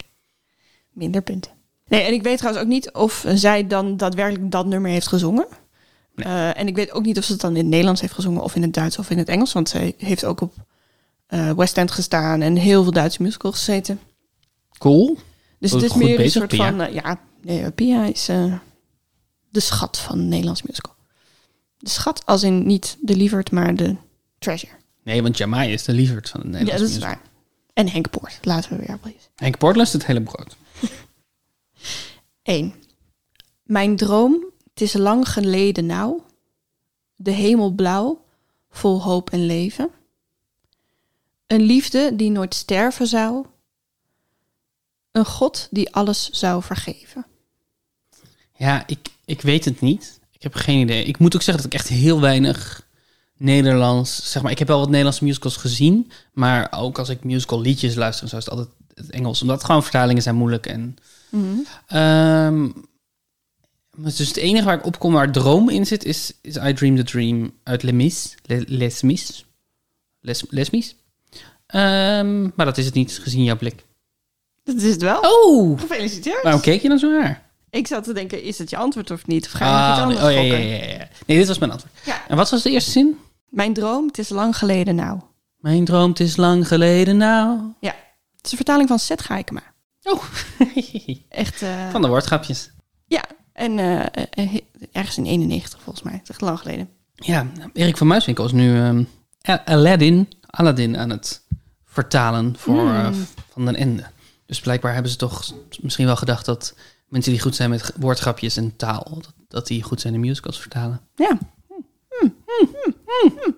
Speaker 2: Minder punten. Nee, en ik weet trouwens ook niet of zij dan daadwerkelijk dat nummer heeft gezongen.
Speaker 1: Nee.
Speaker 2: Eh, en ik weet ook niet of ze het dan in het Nederlands heeft gezongen, of in het Duits of in het Engels. Want zij heeft ook op eh, West End gestaan en heel veel Duitse musicals gezeten.
Speaker 1: Cool.
Speaker 2: Dus
Speaker 1: Oh,
Speaker 2: het is
Speaker 1: goed
Speaker 2: meer een
Speaker 1: bezig,
Speaker 2: soort
Speaker 1: Pia.
Speaker 2: van. eh, ja, nee, eh, Pia is eh, de schat van de Nederlands musical. De schat als in niet de lieverd, maar de treasure.
Speaker 1: Nee, want Jamai is de lieverd van het
Speaker 2: ja,
Speaker 1: Nederlands
Speaker 2: dat is
Speaker 1: musical.
Speaker 2: waar. En Henk Poort, laten we weer please.
Speaker 1: Henk Portlust het hele brood.
Speaker 2: 1. Mijn droom, het is lang geleden nou, de hemel blauw, vol hoop en leven. Een liefde die nooit sterven zou. Een God die alles zou vergeven.
Speaker 1: Ja, ik, ik weet het niet. Ik heb geen idee. Ik moet ook zeggen dat ik echt heel weinig Nederlands... Zeg maar, ik heb wel wat Nederlandse musicals gezien. Maar ook als ik musical liedjes luister, en zo is het altijd het Engels. Omdat gewoon vertalingen zijn moeilijk. En, Mhm. Ehm, maar dus het enige waar ik op kom waar droom in zit, is, is I Dream the Dream uit Les Mis. Le- Les Mis. Les, Les Mis. Ehm, maar dat is het niet, gezien jouw blik.
Speaker 2: Dat is het wel.
Speaker 1: Oh!
Speaker 2: Gefeliciteerd.
Speaker 1: Waarom keek je dan zo raar?
Speaker 2: Ik zat te denken, is het je antwoord of niet? Of ga je nog iets
Speaker 1: Ah, nee.
Speaker 2: anders
Speaker 1: oh, ja, ja,
Speaker 2: gokken?
Speaker 1: ja, ja. Nee, dit was mijn antwoord.
Speaker 2: Ja.
Speaker 1: En wat was de eerste zin?
Speaker 2: Mijn droom, het is lang geleden nou.
Speaker 1: Mijn droom, het is lang geleden nou.
Speaker 2: Ja. Het is een vertaling van Seth Gaikema.
Speaker 1: Oh,
Speaker 2: Echt. eh,
Speaker 1: van de woordgrapjes.
Speaker 2: Ja. En eh, eh, eh, ergens in 91 volgens mij. Het is echt lang geleden.
Speaker 1: Ja, Erik van Muiswinkel is nu ehm, A- Aladdin, Aladdin aan het vertalen voor eh, Van den Ende. Dus blijkbaar hebben ze toch misschien wel gedacht dat mensen die goed zijn met g- woordgrapjes en taal, dat, dat die goed zijn in musicals vertalen.
Speaker 2: Ja. Hm, hm, hm, hm, hm.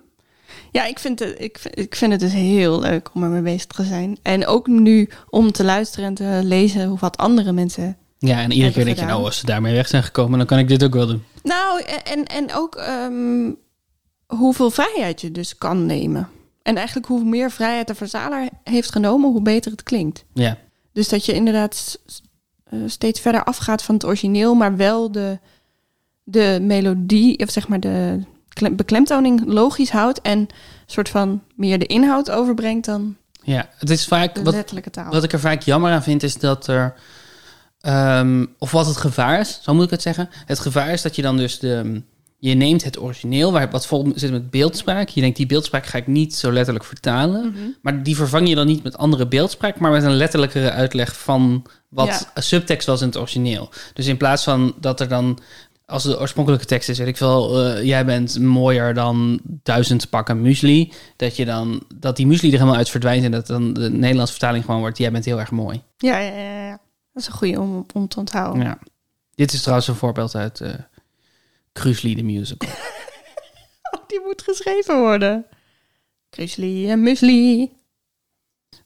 Speaker 2: Ja, ik vind, het, ik, vind- ik vind het dus heel leuk om ermee bezig te zijn. En ook nu om te luisteren en te lezen hoe wat andere mensen
Speaker 1: Ja, en iedere
Speaker 2: Hebben
Speaker 1: keer denk je,
Speaker 2: gedaan.
Speaker 1: nou, als ze daarmee weg zijn gekomen, dan kan ik dit ook wel doen.
Speaker 2: Nou, en- en, en ook ehm, hoeveel vrijheid je dus kan nemen. En eigenlijk hoe meer vrijheid de verzaler heeft genomen, hoe beter het klinkt.
Speaker 1: Ja,
Speaker 2: Dus dat je inderdaad s- s- eh, steeds verder afgaat van het origineel, maar wel de, de melodie, of zeg maar de klem- beklemtoning logisch houdt en soort van meer de inhoud overbrengt dan
Speaker 1: ja. het is vaak,
Speaker 2: de
Speaker 1: wat,
Speaker 2: letterlijke taal.
Speaker 1: Wat ik er vaak jammer aan vind is dat er. ehm, of wat het gevaar is, zo moet ik het zeggen. Het gevaar is dat je dan dus de. Je neemt het origineel, waar wat vol zit met beeldspraak. Je denkt, die beeldspraak ga ik niet zo letterlijk vertalen. Maar die vervang je dan niet met andere beeldspraak, maar met een letterlijkere uitleg van wat subtekst was in het origineel. Dus in plaats van dat er dan, als de oorspronkelijke tekst is, weet ik veel, eh, jij bent mooier dan duizend pakken muesli, dat, je dan, dat die muesli er helemaal uit verdwijnt en dat dan de Nederlandse vertaling gewoon wordt, jij bent heel erg mooi.
Speaker 2: Ja, ja, ja, ja. Dat is een goede om, om te onthouden.
Speaker 1: Ja. Dit is trouwens een voorbeeld uit eh Cruisly, de musical.
Speaker 2: Oh, die moet geschreven worden. Grizzly en Musli.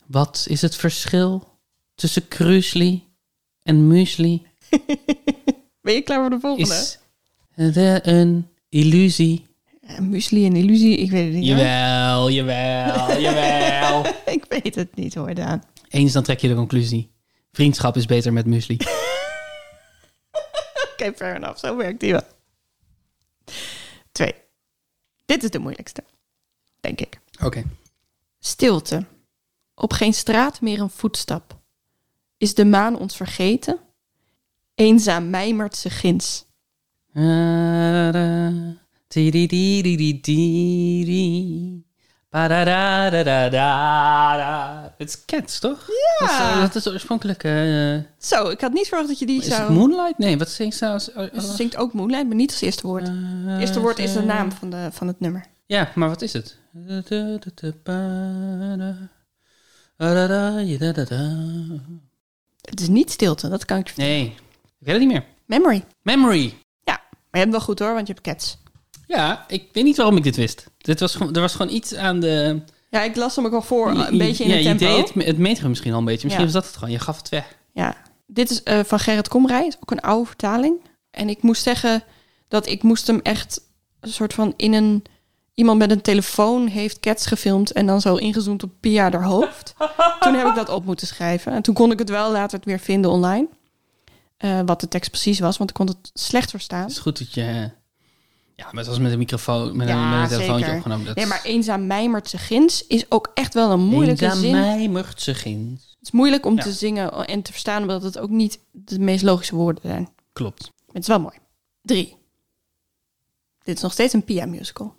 Speaker 1: Wat is het verschil tussen Cruisly en muesli?
Speaker 2: Ben je klaar voor de volgende?
Speaker 1: Is het een illusie?
Speaker 2: Eh, muesli en illusie, ik weet het niet. hoor.
Speaker 1: Jawel, jawel, jawel.
Speaker 2: Ik weet het niet hoor, Daan.
Speaker 1: Eens dan trek je de conclusie. Vriendschap is beter met muesli.
Speaker 2: Oké, fair enough. Zo werkt die wel. Twee. Dit is de moeilijkste, denk ik.
Speaker 1: Oké.
Speaker 2: Stilte. Op geen straat meer een voetstap. Is de maan ons vergeten? Eenzaam mijmert ze ginds.
Speaker 1: Eh, Het is Cats, toch? Dat is, eh,
Speaker 2: Ah,
Speaker 1: dat is de oorspronkelijke... eh,
Speaker 2: zo, ik had niet verwacht dat je die
Speaker 1: is het Oh.
Speaker 2: zou...
Speaker 1: Moonlight? Nee, wat zingt ze als... als-
Speaker 2: Ze
Speaker 1: als-
Speaker 2: zingt ook Moonlight, maar niet als eerste woord.
Speaker 1: Eh,
Speaker 2: Het eerste woord is de naam van, de, van het nummer.
Speaker 1: Ja, maar wat is het?
Speaker 2: Het is niet stilte, dat kan ik je vertellen.
Speaker 1: Nee, ik weet het niet meer.
Speaker 2: Memory.
Speaker 1: Memory.
Speaker 2: Ja, maar je hebt hem wel goed hoor, want je hebt cats.
Speaker 1: Ja, ik weet niet waarom ik dit wist. Dit was, gewoon- er was gewoon iets aan de...
Speaker 2: Ja, ik las hem ook al voor, een
Speaker 1: je-
Speaker 2: beetje in
Speaker 1: ja,
Speaker 2: het tempo.
Speaker 1: Je deed het, me- het metrum misschien al een beetje. Misschien
Speaker 2: Ja.
Speaker 1: was dat het gewoon. Je gaf het weg.
Speaker 2: Ja, dit is eh, van Gerrit Komrij, Het is ook een oude vertaling. En ik moest zeggen dat ik moest hem echt een soort van in een... Iemand met een telefoon heeft cats gefilmd en dan zo ingezoomd op Pia haar hoofd. toen heb ik dat op moeten schrijven. En toen kon ik het wel later het weer vinden online. Eh, wat de tekst precies was, want ik kon het slecht verstaan.
Speaker 1: Het is goed dat je... eh, Ja, maar het was met een microfoon, met, een,
Speaker 2: Ja,
Speaker 1: met een telefoontje
Speaker 2: zeker.
Speaker 1: opgenomen. Dat
Speaker 2: Nee, maar eenzaam mijmert ze gins is ook echt wel een moeilijke zin.
Speaker 1: mijmert ze ginds.
Speaker 2: Het is moeilijk om
Speaker 1: Ja.
Speaker 2: te zingen en te verstaan, omdat het ook niet de meest logische woorden zijn.
Speaker 1: Klopt.
Speaker 2: Maar Het is wel mooi. Drie. Dit is nog steeds een Pia musical.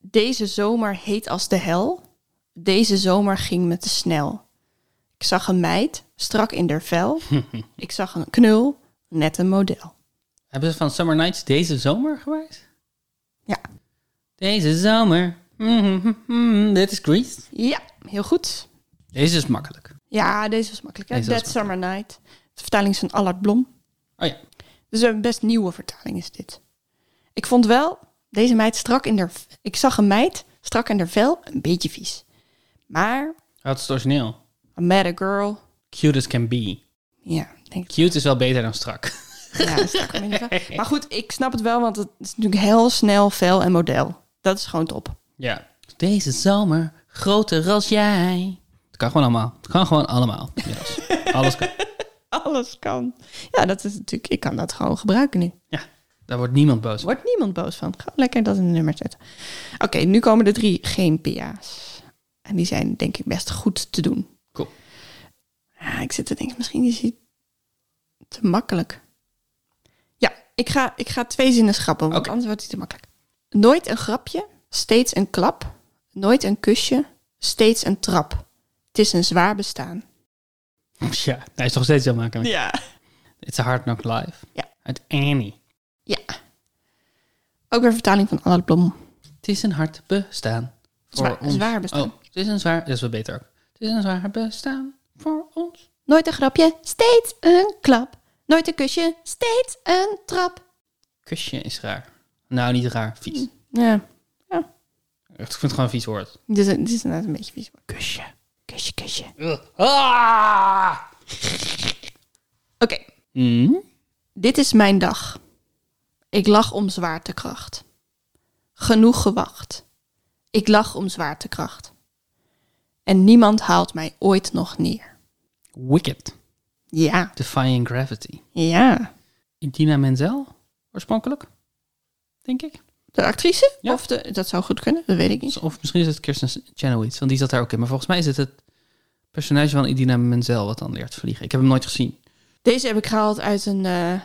Speaker 2: Deze zomer heet als de hel. Deze zomer ging me te snel. Ik zag een meid, strak in der vel. Ik zag een knul, net een model.
Speaker 1: Hebben ze van Summer Nights deze zomer geweest?
Speaker 2: Ja.
Speaker 1: Deze zomer. Mhm, mhm, dit is Grease.
Speaker 2: Ja, heel goed.
Speaker 1: Deze is makkelijk.
Speaker 2: Ja, deze was makkelijk. Hè?
Speaker 1: Deze was
Speaker 2: That Summer Night. De vertaling is van Allard Blom.
Speaker 1: Oh ja.
Speaker 2: Dus een best nieuwe vertaling is dit. Ik vond wel, Deze meid strak in haar... Ik zag een meid strak in haar vel, een beetje vies. Maar,
Speaker 1: Had het origineel.
Speaker 2: I met a girl.
Speaker 1: Cute as can be.
Speaker 2: Ja, denk ik.
Speaker 1: Cute is wel beter dan strak.
Speaker 2: Ja, strak in haar vel. Maar goed, ik snap het wel, want het is natuurlijk heel snel vel en model. Dat is gewoon top.
Speaker 1: Ja. Deze zomer groter als jij. Het kan gewoon allemaal. Het kan gewoon allemaal. Yes. Alles kan.
Speaker 2: Alles kan. Ja, dat is natuurlijk... Ik kan dat gewoon gebruiken nu.
Speaker 1: Ja, daar wordt niemand boos.
Speaker 2: Wordt niemand boos van. Ga lekker dat in een nummer zetten. Oké, nu komen de drie geen PA's. En die zijn denk ik best goed te doen.
Speaker 1: Cool.
Speaker 2: Ah, ik zit te denken, misschien is hij te makkelijk. Ja, ik ga, ik ga twee zinnen schrappen, want
Speaker 1: Oké.
Speaker 2: anders wordt hij te makkelijk. Nooit een grapje, steeds een klap. Nooit een kusje, steeds een trap. Het is een zwaar bestaan.
Speaker 1: Ja, hij is nog steeds heel makkelijk.
Speaker 2: Ja.
Speaker 1: It's a hard knock life.
Speaker 2: Ja.
Speaker 1: Uit Annie.
Speaker 2: Ja. Ook weer vertaling van Anne Blom.
Speaker 1: Het is een hard bestaan. Voor
Speaker 2: Zwaar-
Speaker 1: ons.
Speaker 2: zwaar bestaan.
Speaker 1: Oh, het is een zwaar... Dat is wel beter ook. Het is een zwaar bestaan voor ons.
Speaker 2: Nooit een grapje, steeds een klap. Nooit een kusje, steeds een trap.
Speaker 1: Kusje is raar. Nou, niet raar. Vies.
Speaker 2: Ja,
Speaker 1: Ik vind het gewoon een vies woord.
Speaker 2: dit is, dit is inderdaad een beetje vies.
Speaker 1: Kusje.
Speaker 2: Kusje, kusje. Oké,
Speaker 1: Ugh. Ah! Mm.
Speaker 2: dit is mijn dag. Ik lag om zwaartekracht. Genoeg gewacht. Ik lag om zwaartekracht. En niemand haalt mij ooit nog neer.
Speaker 1: Wicked.
Speaker 2: Ja,
Speaker 1: Defying gravity.
Speaker 2: ja.
Speaker 1: Idina Menzel, oorspronkelijk, denk ik.
Speaker 2: De actrice?
Speaker 1: Ja.
Speaker 2: Of de, dat zou goed kunnen, dat weet ik niet.
Speaker 1: Of misschien is het Kirsten Chenoweth, want die zat daar ook in. Maar volgens mij is het het personage van Idina Menzel wat dan leert vliegen. Ik heb hem nooit gezien.
Speaker 2: Deze heb ik gehaald uit een, eh,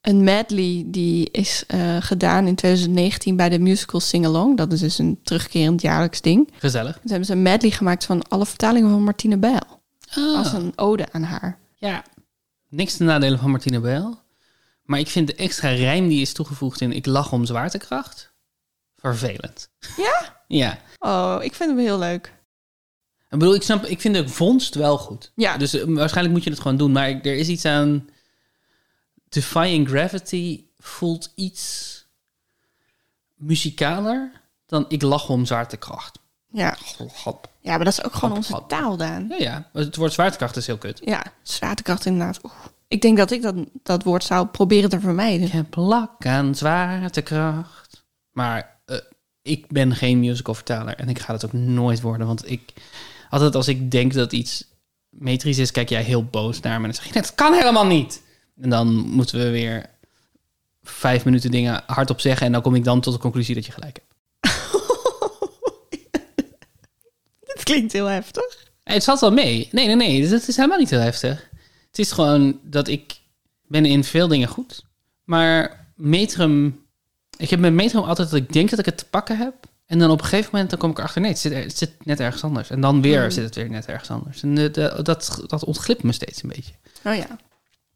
Speaker 2: een medley die is eh, gedaan in 2019 bij de musical Sing Along. Dat is dus een terugkerend jaarlijks ding. Toen
Speaker 1: Gezellig.
Speaker 2: hebben ze een medley gemaakt van alle vertalingen van Martine Bijl.
Speaker 1: Ah.
Speaker 2: Als een ode aan haar.
Speaker 1: Ja. Niks ten nadelen van Martine Bijl. Maar ik vind de extra rijm die is toegevoegd in Ik lach om zwaartekracht vervelend.
Speaker 2: Ja?
Speaker 1: Ja.
Speaker 2: Oh, ik vind hem heel leuk.
Speaker 1: Ik bedoel, ik snap, ik vind de vondst wel goed.
Speaker 2: Ja.
Speaker 1: Dus eh, waarschijnlijk moet je het gewoon doen. Maar ik- er is iets aan. Defying Gravity voelt iets muzikaler dan Ik lach om zwaartekracht.
Speaker 2: Ja.
Speaker 1: Hop.
Speaker 2: ja, maar dat is ook gewoon onze
Speaker 1: Hap, hap.
Speaker 2: taal, Daan.
Speaker 1: Ja, ja. Het woord zwaartekracht is heel kut.
Speaker 2: Ja, zwaartekracht inderdaad. Oeh. Ik denk dat ik dat, dat woord zou proberen te vermijden.
Speaker 1: Ik heb lak aan zwaartekracht. Maar eh, ik ben geen musicalvertaler en ik ga dat ook nooit worden. Want ik, altijd als ik denk dat iets metrisch is, kijk jij heel boos naar me en dan zeg je, dat kan helemaal niet. En dan moeten we weer vijf minuten dingen hardop zeggen en dan kom ik dan tot de conclusie dat je gelijk hebt.
Speaker 2: Dit klinkt heel heftig.
Speaker 1: Hey, Eh, Het valt wel mee. Nee, nee, nee. Dus Het is helemaal niet heel heftig. Het is gewoon dat ik ben in veel dingen goed. Maar metrum... Ik heb met metrum altijd dat ik denk dat ik het te pakken heb. En dan op een gegeven moment dan kom ik erachter... Nee, het zit, er- het zit net ergens anders. En dan weer zit het weer net ergens anders. En eh, de- dat, dat ontglipt me steeds een beetje.
Speaker 2: Oh ja.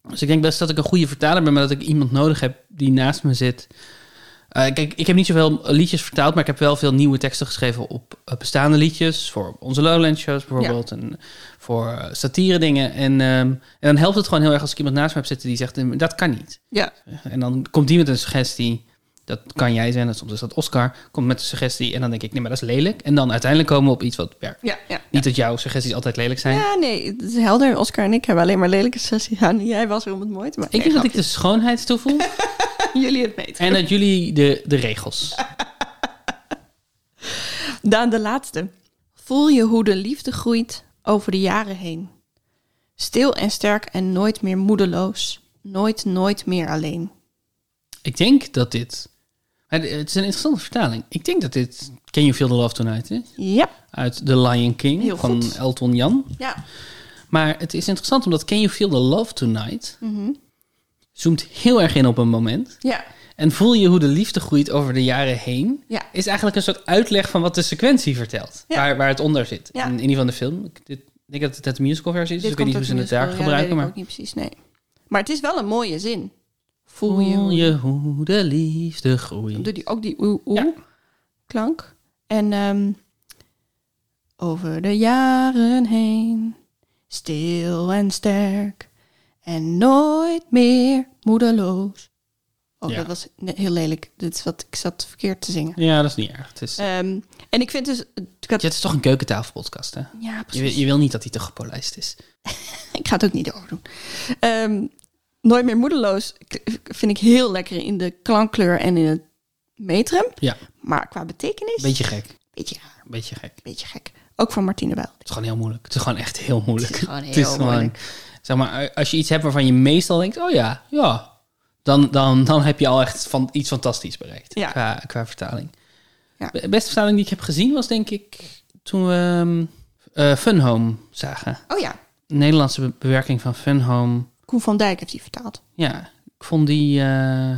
Speaker 1: Dus ik denk best dat ik een goede vertaler ben... maar dat ik iemand nodig heb die naast me zit... Eh, kijk, ik heb niet zoveel liedjes vertaald, maar ik heb wel veel nieuwe teksten geschreven op eh, bestaande liedjes. Voor onze Lowland shows bijvoorbeeld. En voor eh, satire dingen. En, ehm, en dan helpt het gewoon heel erg als ik iemand naast me heb zitten die zegt, "Eh, dat kan niet.
Speaker 2: Ja.
Speaker 1: En dan komt die met een suggestie. Dat kan jij zijn, en soms is dat Oscar. Komt met een suggestie en dan denk ik, nee, maar dat is lelijk. En dan uiteindelijk komen we op iets wat werkt.
Speaker 2: Ja, ja.
Speaker 1: Niet dat jouw suggesties altijd lelijk zijn.
Speaker 2: Ja, nee, het is helder. Oscar en ik hebben alleen maar lelijke sessies aan. Jij was er om het mooi te maken.
Speaker 1: Ik denk dat ik de schoonheid toevoeg
Speaker 2: jullie het weten.
Speaker 1: en dat jullie de, de regels.
Speaker 2: Daan, de laatste. Voel je hoe de liefde groeit over de jaren heen. Stil en sterk en nooit meer moedeloos. Nooit, nooit meer alleen.
Speaker 1: Ik denk dat dit. Het het is een interessante vertaling. Ik denk dat dit. Can You Feel the Love Tonight is?
Speaker 2: Ja.
Speaker 1: Uit The Lion King
Speaker 2: Heel
Speaker 1: van
Speaker 2: goed.
Speaker 1: Elton Jan.
Speaker 2: Ja.
Speaker 1: Maar het is interessant omdat Can You Feel the Love Tonight.
Speaker 2: Mhm.
Speaker 1: zoomt heel erg in op een moment.
Speaker 2: Ja.
Speaker 1: En voel je hoe de liefde groeit over de jaren heen.
Speaker 2: Ja.
Speaker 1: Is eigenlijk een soort uitleg van wat de sequentie vertelt.
Speaker 2: Ja.
Speaker 1: Waar, waar het onder zit.
Speaker 2: Ja.
Speaker 1: In, in ieder geval de film. Ik dit- ik denk dat het net de musical versie is. dus ik weet niet hoe
Speaker 2: komt
Speaker 1: ze het
Speaker 2: uit
Speaker 1: daar
Speaker 2: de musical. Ja,
Speaker 1: gebruiken.
Speaker 2: dat weet
Speaker 1: maar
Speaker 2: ik ook niet precies, nee. Maar het is wel een mooie zin. Voel je
Speaker 1: voel
Speaker 2: hoe...
Speaker 1: je hoe de liefde groeit.
Speaker 2: Doe die, ook die oe oe
Speaker 1: Hm. Ja.
Speaker 2: klank. En ehm, over de jaren heen, stil en sterk en nooit meer moedeloos. Oh,
Speaker 1: Ja.
Speaker 2: dat was ne- heel lelijk. Dit is wat, ik zat verkeerd te zingen.
Speaker 1: Ja, dat is niet erg. Het is,
Speaker 2: Ehm, en ik vind dus... ik had-
Speaker 1: Ja, het is toch een keukentafelpodcast, hè?
Speaker 2: ja,
Speaker 1: Je,
Speaker 2: precies.
Speaker 1: wil- je wil niet dat hij te gepolijst is.
Speaker 2: Ik ga het ook niet overdoen. Ehm Nooit meer moedeloos k- vind ik heel lekker in de klankkleur en in het metrum.
Speaker 1: Ja,
Speaker 2: Maar qua betekenis...
Speaker 1: beetje gek.
Speaker 2: beetje raar,
Speaker 1: Beetje gek. Het
Speaker 2: beetje gek. Ook van Martine Bijl.
Speaker 1: is gewoon heel moeilijk. Het is gewoon echt heel moeilijk.
Speaker 2: Het is gewoon heel
Speaker 1: gewoon-
Speaker 2: moeilijk.
Speaker 1: Zeg maar, eh, als je iets hebt waarvan je meestal denkt, oh ja, ja. Dan, dan, dan heb je al echt van, iets fantastisch bereikt
Speaker 2: Ja.
Speaker 1: qua, qua vertaling.
Speaker 2: Ja.
Speaker 1: De beste vertaling die ik heb gezien was denk ik toen we ehm, eh, Fun Home zagen.
Speaker 2: Oh ja,
Speaker 1: De Nederlandse be- bewerking van Fun Home.
Speaker 2: Koen van Dijk heeft die vertaald.
Speaker 1: Ja, ik vond die, eh,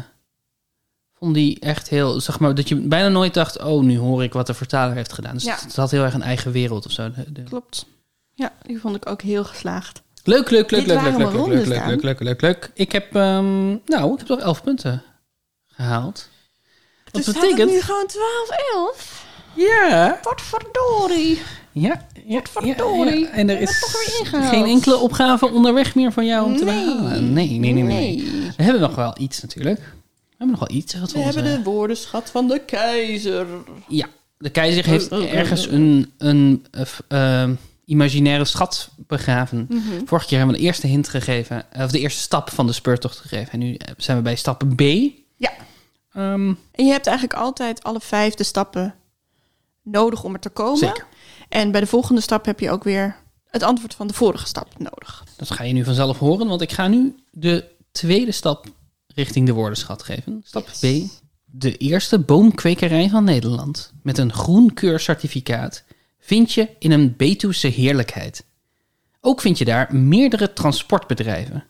Speaker 1: vond die echt heel... Zeg maar, dat je bijna nooit dacht... oh, nu hoor ik wat de vertaler heeft gedaan. Dus
Speaker 2: Ja.
Speaker 1: het, het had heel erg een eigen wereld of zo. De- de-
Speaker 2: Klopt. Ja, die vond ik ook heel geslaagd.
Speaker 1: Leuk, leuk, leuk, leuk,
Speaker 2: Dit
Speaker 1: leuk,
Speaker 2: waren
Speaker 1: leuk,
Speaker 2: mijn
Speaker 1: leuk, leuk,
Speaker 2: rondes,
Speaker 1: leuk,
Speaker 2: Daan.
Speaker 1: leuk, leuk, leuk, leuk. Ik heb, ehm, nou, ik heb toch elf punten gehaald. Wat betekent...
Speaker 2: nu gewoon 12-11.
Speaker 1: Ja,
Speaker 2: Wat verdorie.
Speaker 1: ja, ja,
Speaker 2: Potverdorie.
Speaker 1: ja, ja. En er
Speaker 2: Ik heb het toch
Speaker 1: is
Speaker 2: weer ingehaald.
Speaker 1: geen enkele opgave onderweg meer van jou om te
Speaker 2: Ah, Nee.
Speaker 1: behalen. Nee, nee, nee, nee, nee. We hebben nog wel iets natuurlijk. We hebben nog wel iets. wat
Speaker 2: We
Speaker 1: onze-
Speaker 2: hebben de woordenschat van de keizer.
Speaker 1: Ja, de keizer heeft
Speaker 2: Oh, oh, oh,
Speaker 1: ergens
Speaker 2: oh.
Speaker 1: een, een eh, f- eh, imaginaire schat begraven.
Speaker 2: Mhm.
Speaker 1: Vorige keer hebben we de eerste hint gegeven, eh, of de eerste stap van de speurtocht gegeven. En nu eh, zijn we bij stap B.
Speaker 2: Ja.
Speaker 1: Ehm,
Speaker 2: En je hebt eigenlijk altijd alle vijf de stappen nodig om er te komen.
Speaker 1: Zeker.
Speaker 2: En bij de volgende stap heb je ook weer het antwoord van de vorige stap nodig.
Speaker 1: dat ga je nu vanzelf horen, want ik ga nu de tweede stap richting de woordenschat geven. Stap
Speaker 2: Yes.
Speaker 1: B. De eerste boomkwekerij van Nederland met een groen keurcertificaat vind je in een Betuwse heerlijkheid. Ook vind je daar meerdere transportbedrijven.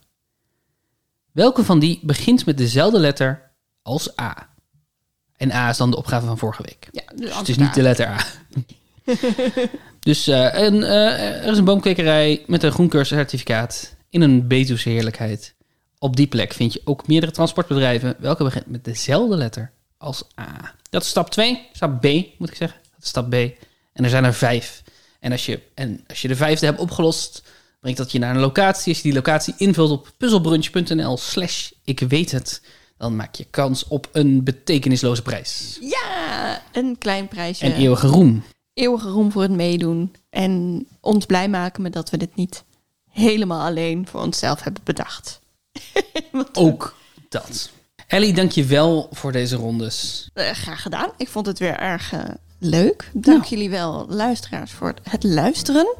Speaker 1: Welke van die begint met dezelfde letter als A? En A is dan de opgave van vorige week.
Speaker 2: Ja, dus
Speaker 1: Dus het is niet de letter A. dus eh, een, eh, er is een boomkwekerij met een groenkeurcertificaat in een Betuwse heerlijkheid. Op die plek vind je ook meerdere transportbedrijven, welke begint met dezelfde letter als A. Dat is stap 2, stap B moet ik zeggen. Dat is stap B. En er zijn er vijf. En als je, en als je de vijfde hebt opgelost, brengt dat je naar een locatie. Als je die locatie invult op puzzelbrunch.nl slash ik weet het, dan maak je kans op een betekenisloze prijs.
Speaker 2: Ja, een klein prijsje.
Speaker 1: En eeuwige roem.
Speaker 2: Eeuwige roem voor het meedoen. En ons blij maken met dat we dit niet helemaal alleen voor onszelf hebben bedacht.
Speaker 1: Ook dat. Ellie, dank je wel voor deze rondes.
Speaker 2: Eh, graag gedaan. Ik vond het weer erg eh, leuk. Dank jullie wel, luisteraars, voor het- het luisteren.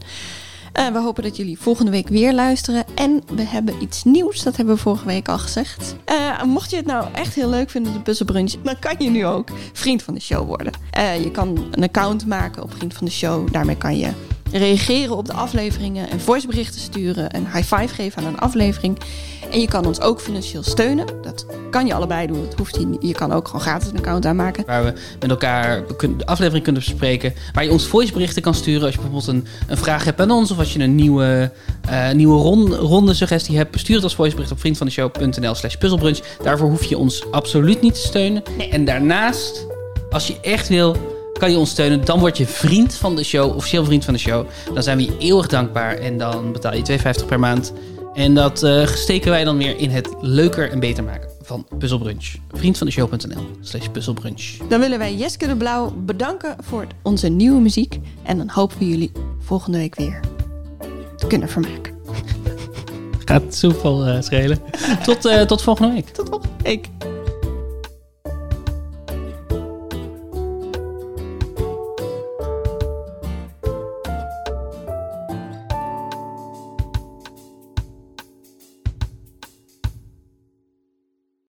Speaker 2: Eh, we hopen dat jullie volgende week weer luisteren. En we hebben iets nieuws, dat hebben we vorige week al gezegd. Eh, mocht je het nou echt heel leuk vinden, de puzzelbrunch, dan kan je nu ook vriend van de show worden. Eh, je kan een account maken op vriend van de show. Daarmee kan je reageren op de afleveringen en voiceberichten sturen. Een high five geven aan een aflevering. En je kan ons ook financieel steunen. Dat kan je allebei doen. Dat hoeft je, niet. je kan ook gewoon gratis een account aanmaken.
Speaker 1: Waar we met elkaar kun- de aflevering kunnen bespreken. Waar je ons voiceberichten kan sturen als je bijvoorbeeld een, een vraag hebt aan ons. Of als je een nieuwe, eh, nieuwe ron- ronde suggestie hebt. Stuur het als voicebericht op vriendvandeshow.nl slash puzzelbrunch. Daarvoor hoef je ons absoluut niet te steunen. En daarnaast, als je echt wil, kan je ons steunen. Dan word je vriend van de show, officieel vriend van de show. Dan zijn we je eeuwig dankbaar. En dan betaal je 2,50 per maand. En dat eh, steken wij dan weer in het leuker en beter maken van Puzzelbrunch. Vriendvandeshow.nl slash puzzelbrunch.
Speaker 2: Dan willen wij Jeske de Blauw bedanken voor onze nieuwe muziek. En dan hopen we jullie volgende week weer te kunnen vermaken.
Speaker 1: Gaat soepel eh, schelen. tot, eh, tot volgende week.
Speaker 2: Tot volgende week.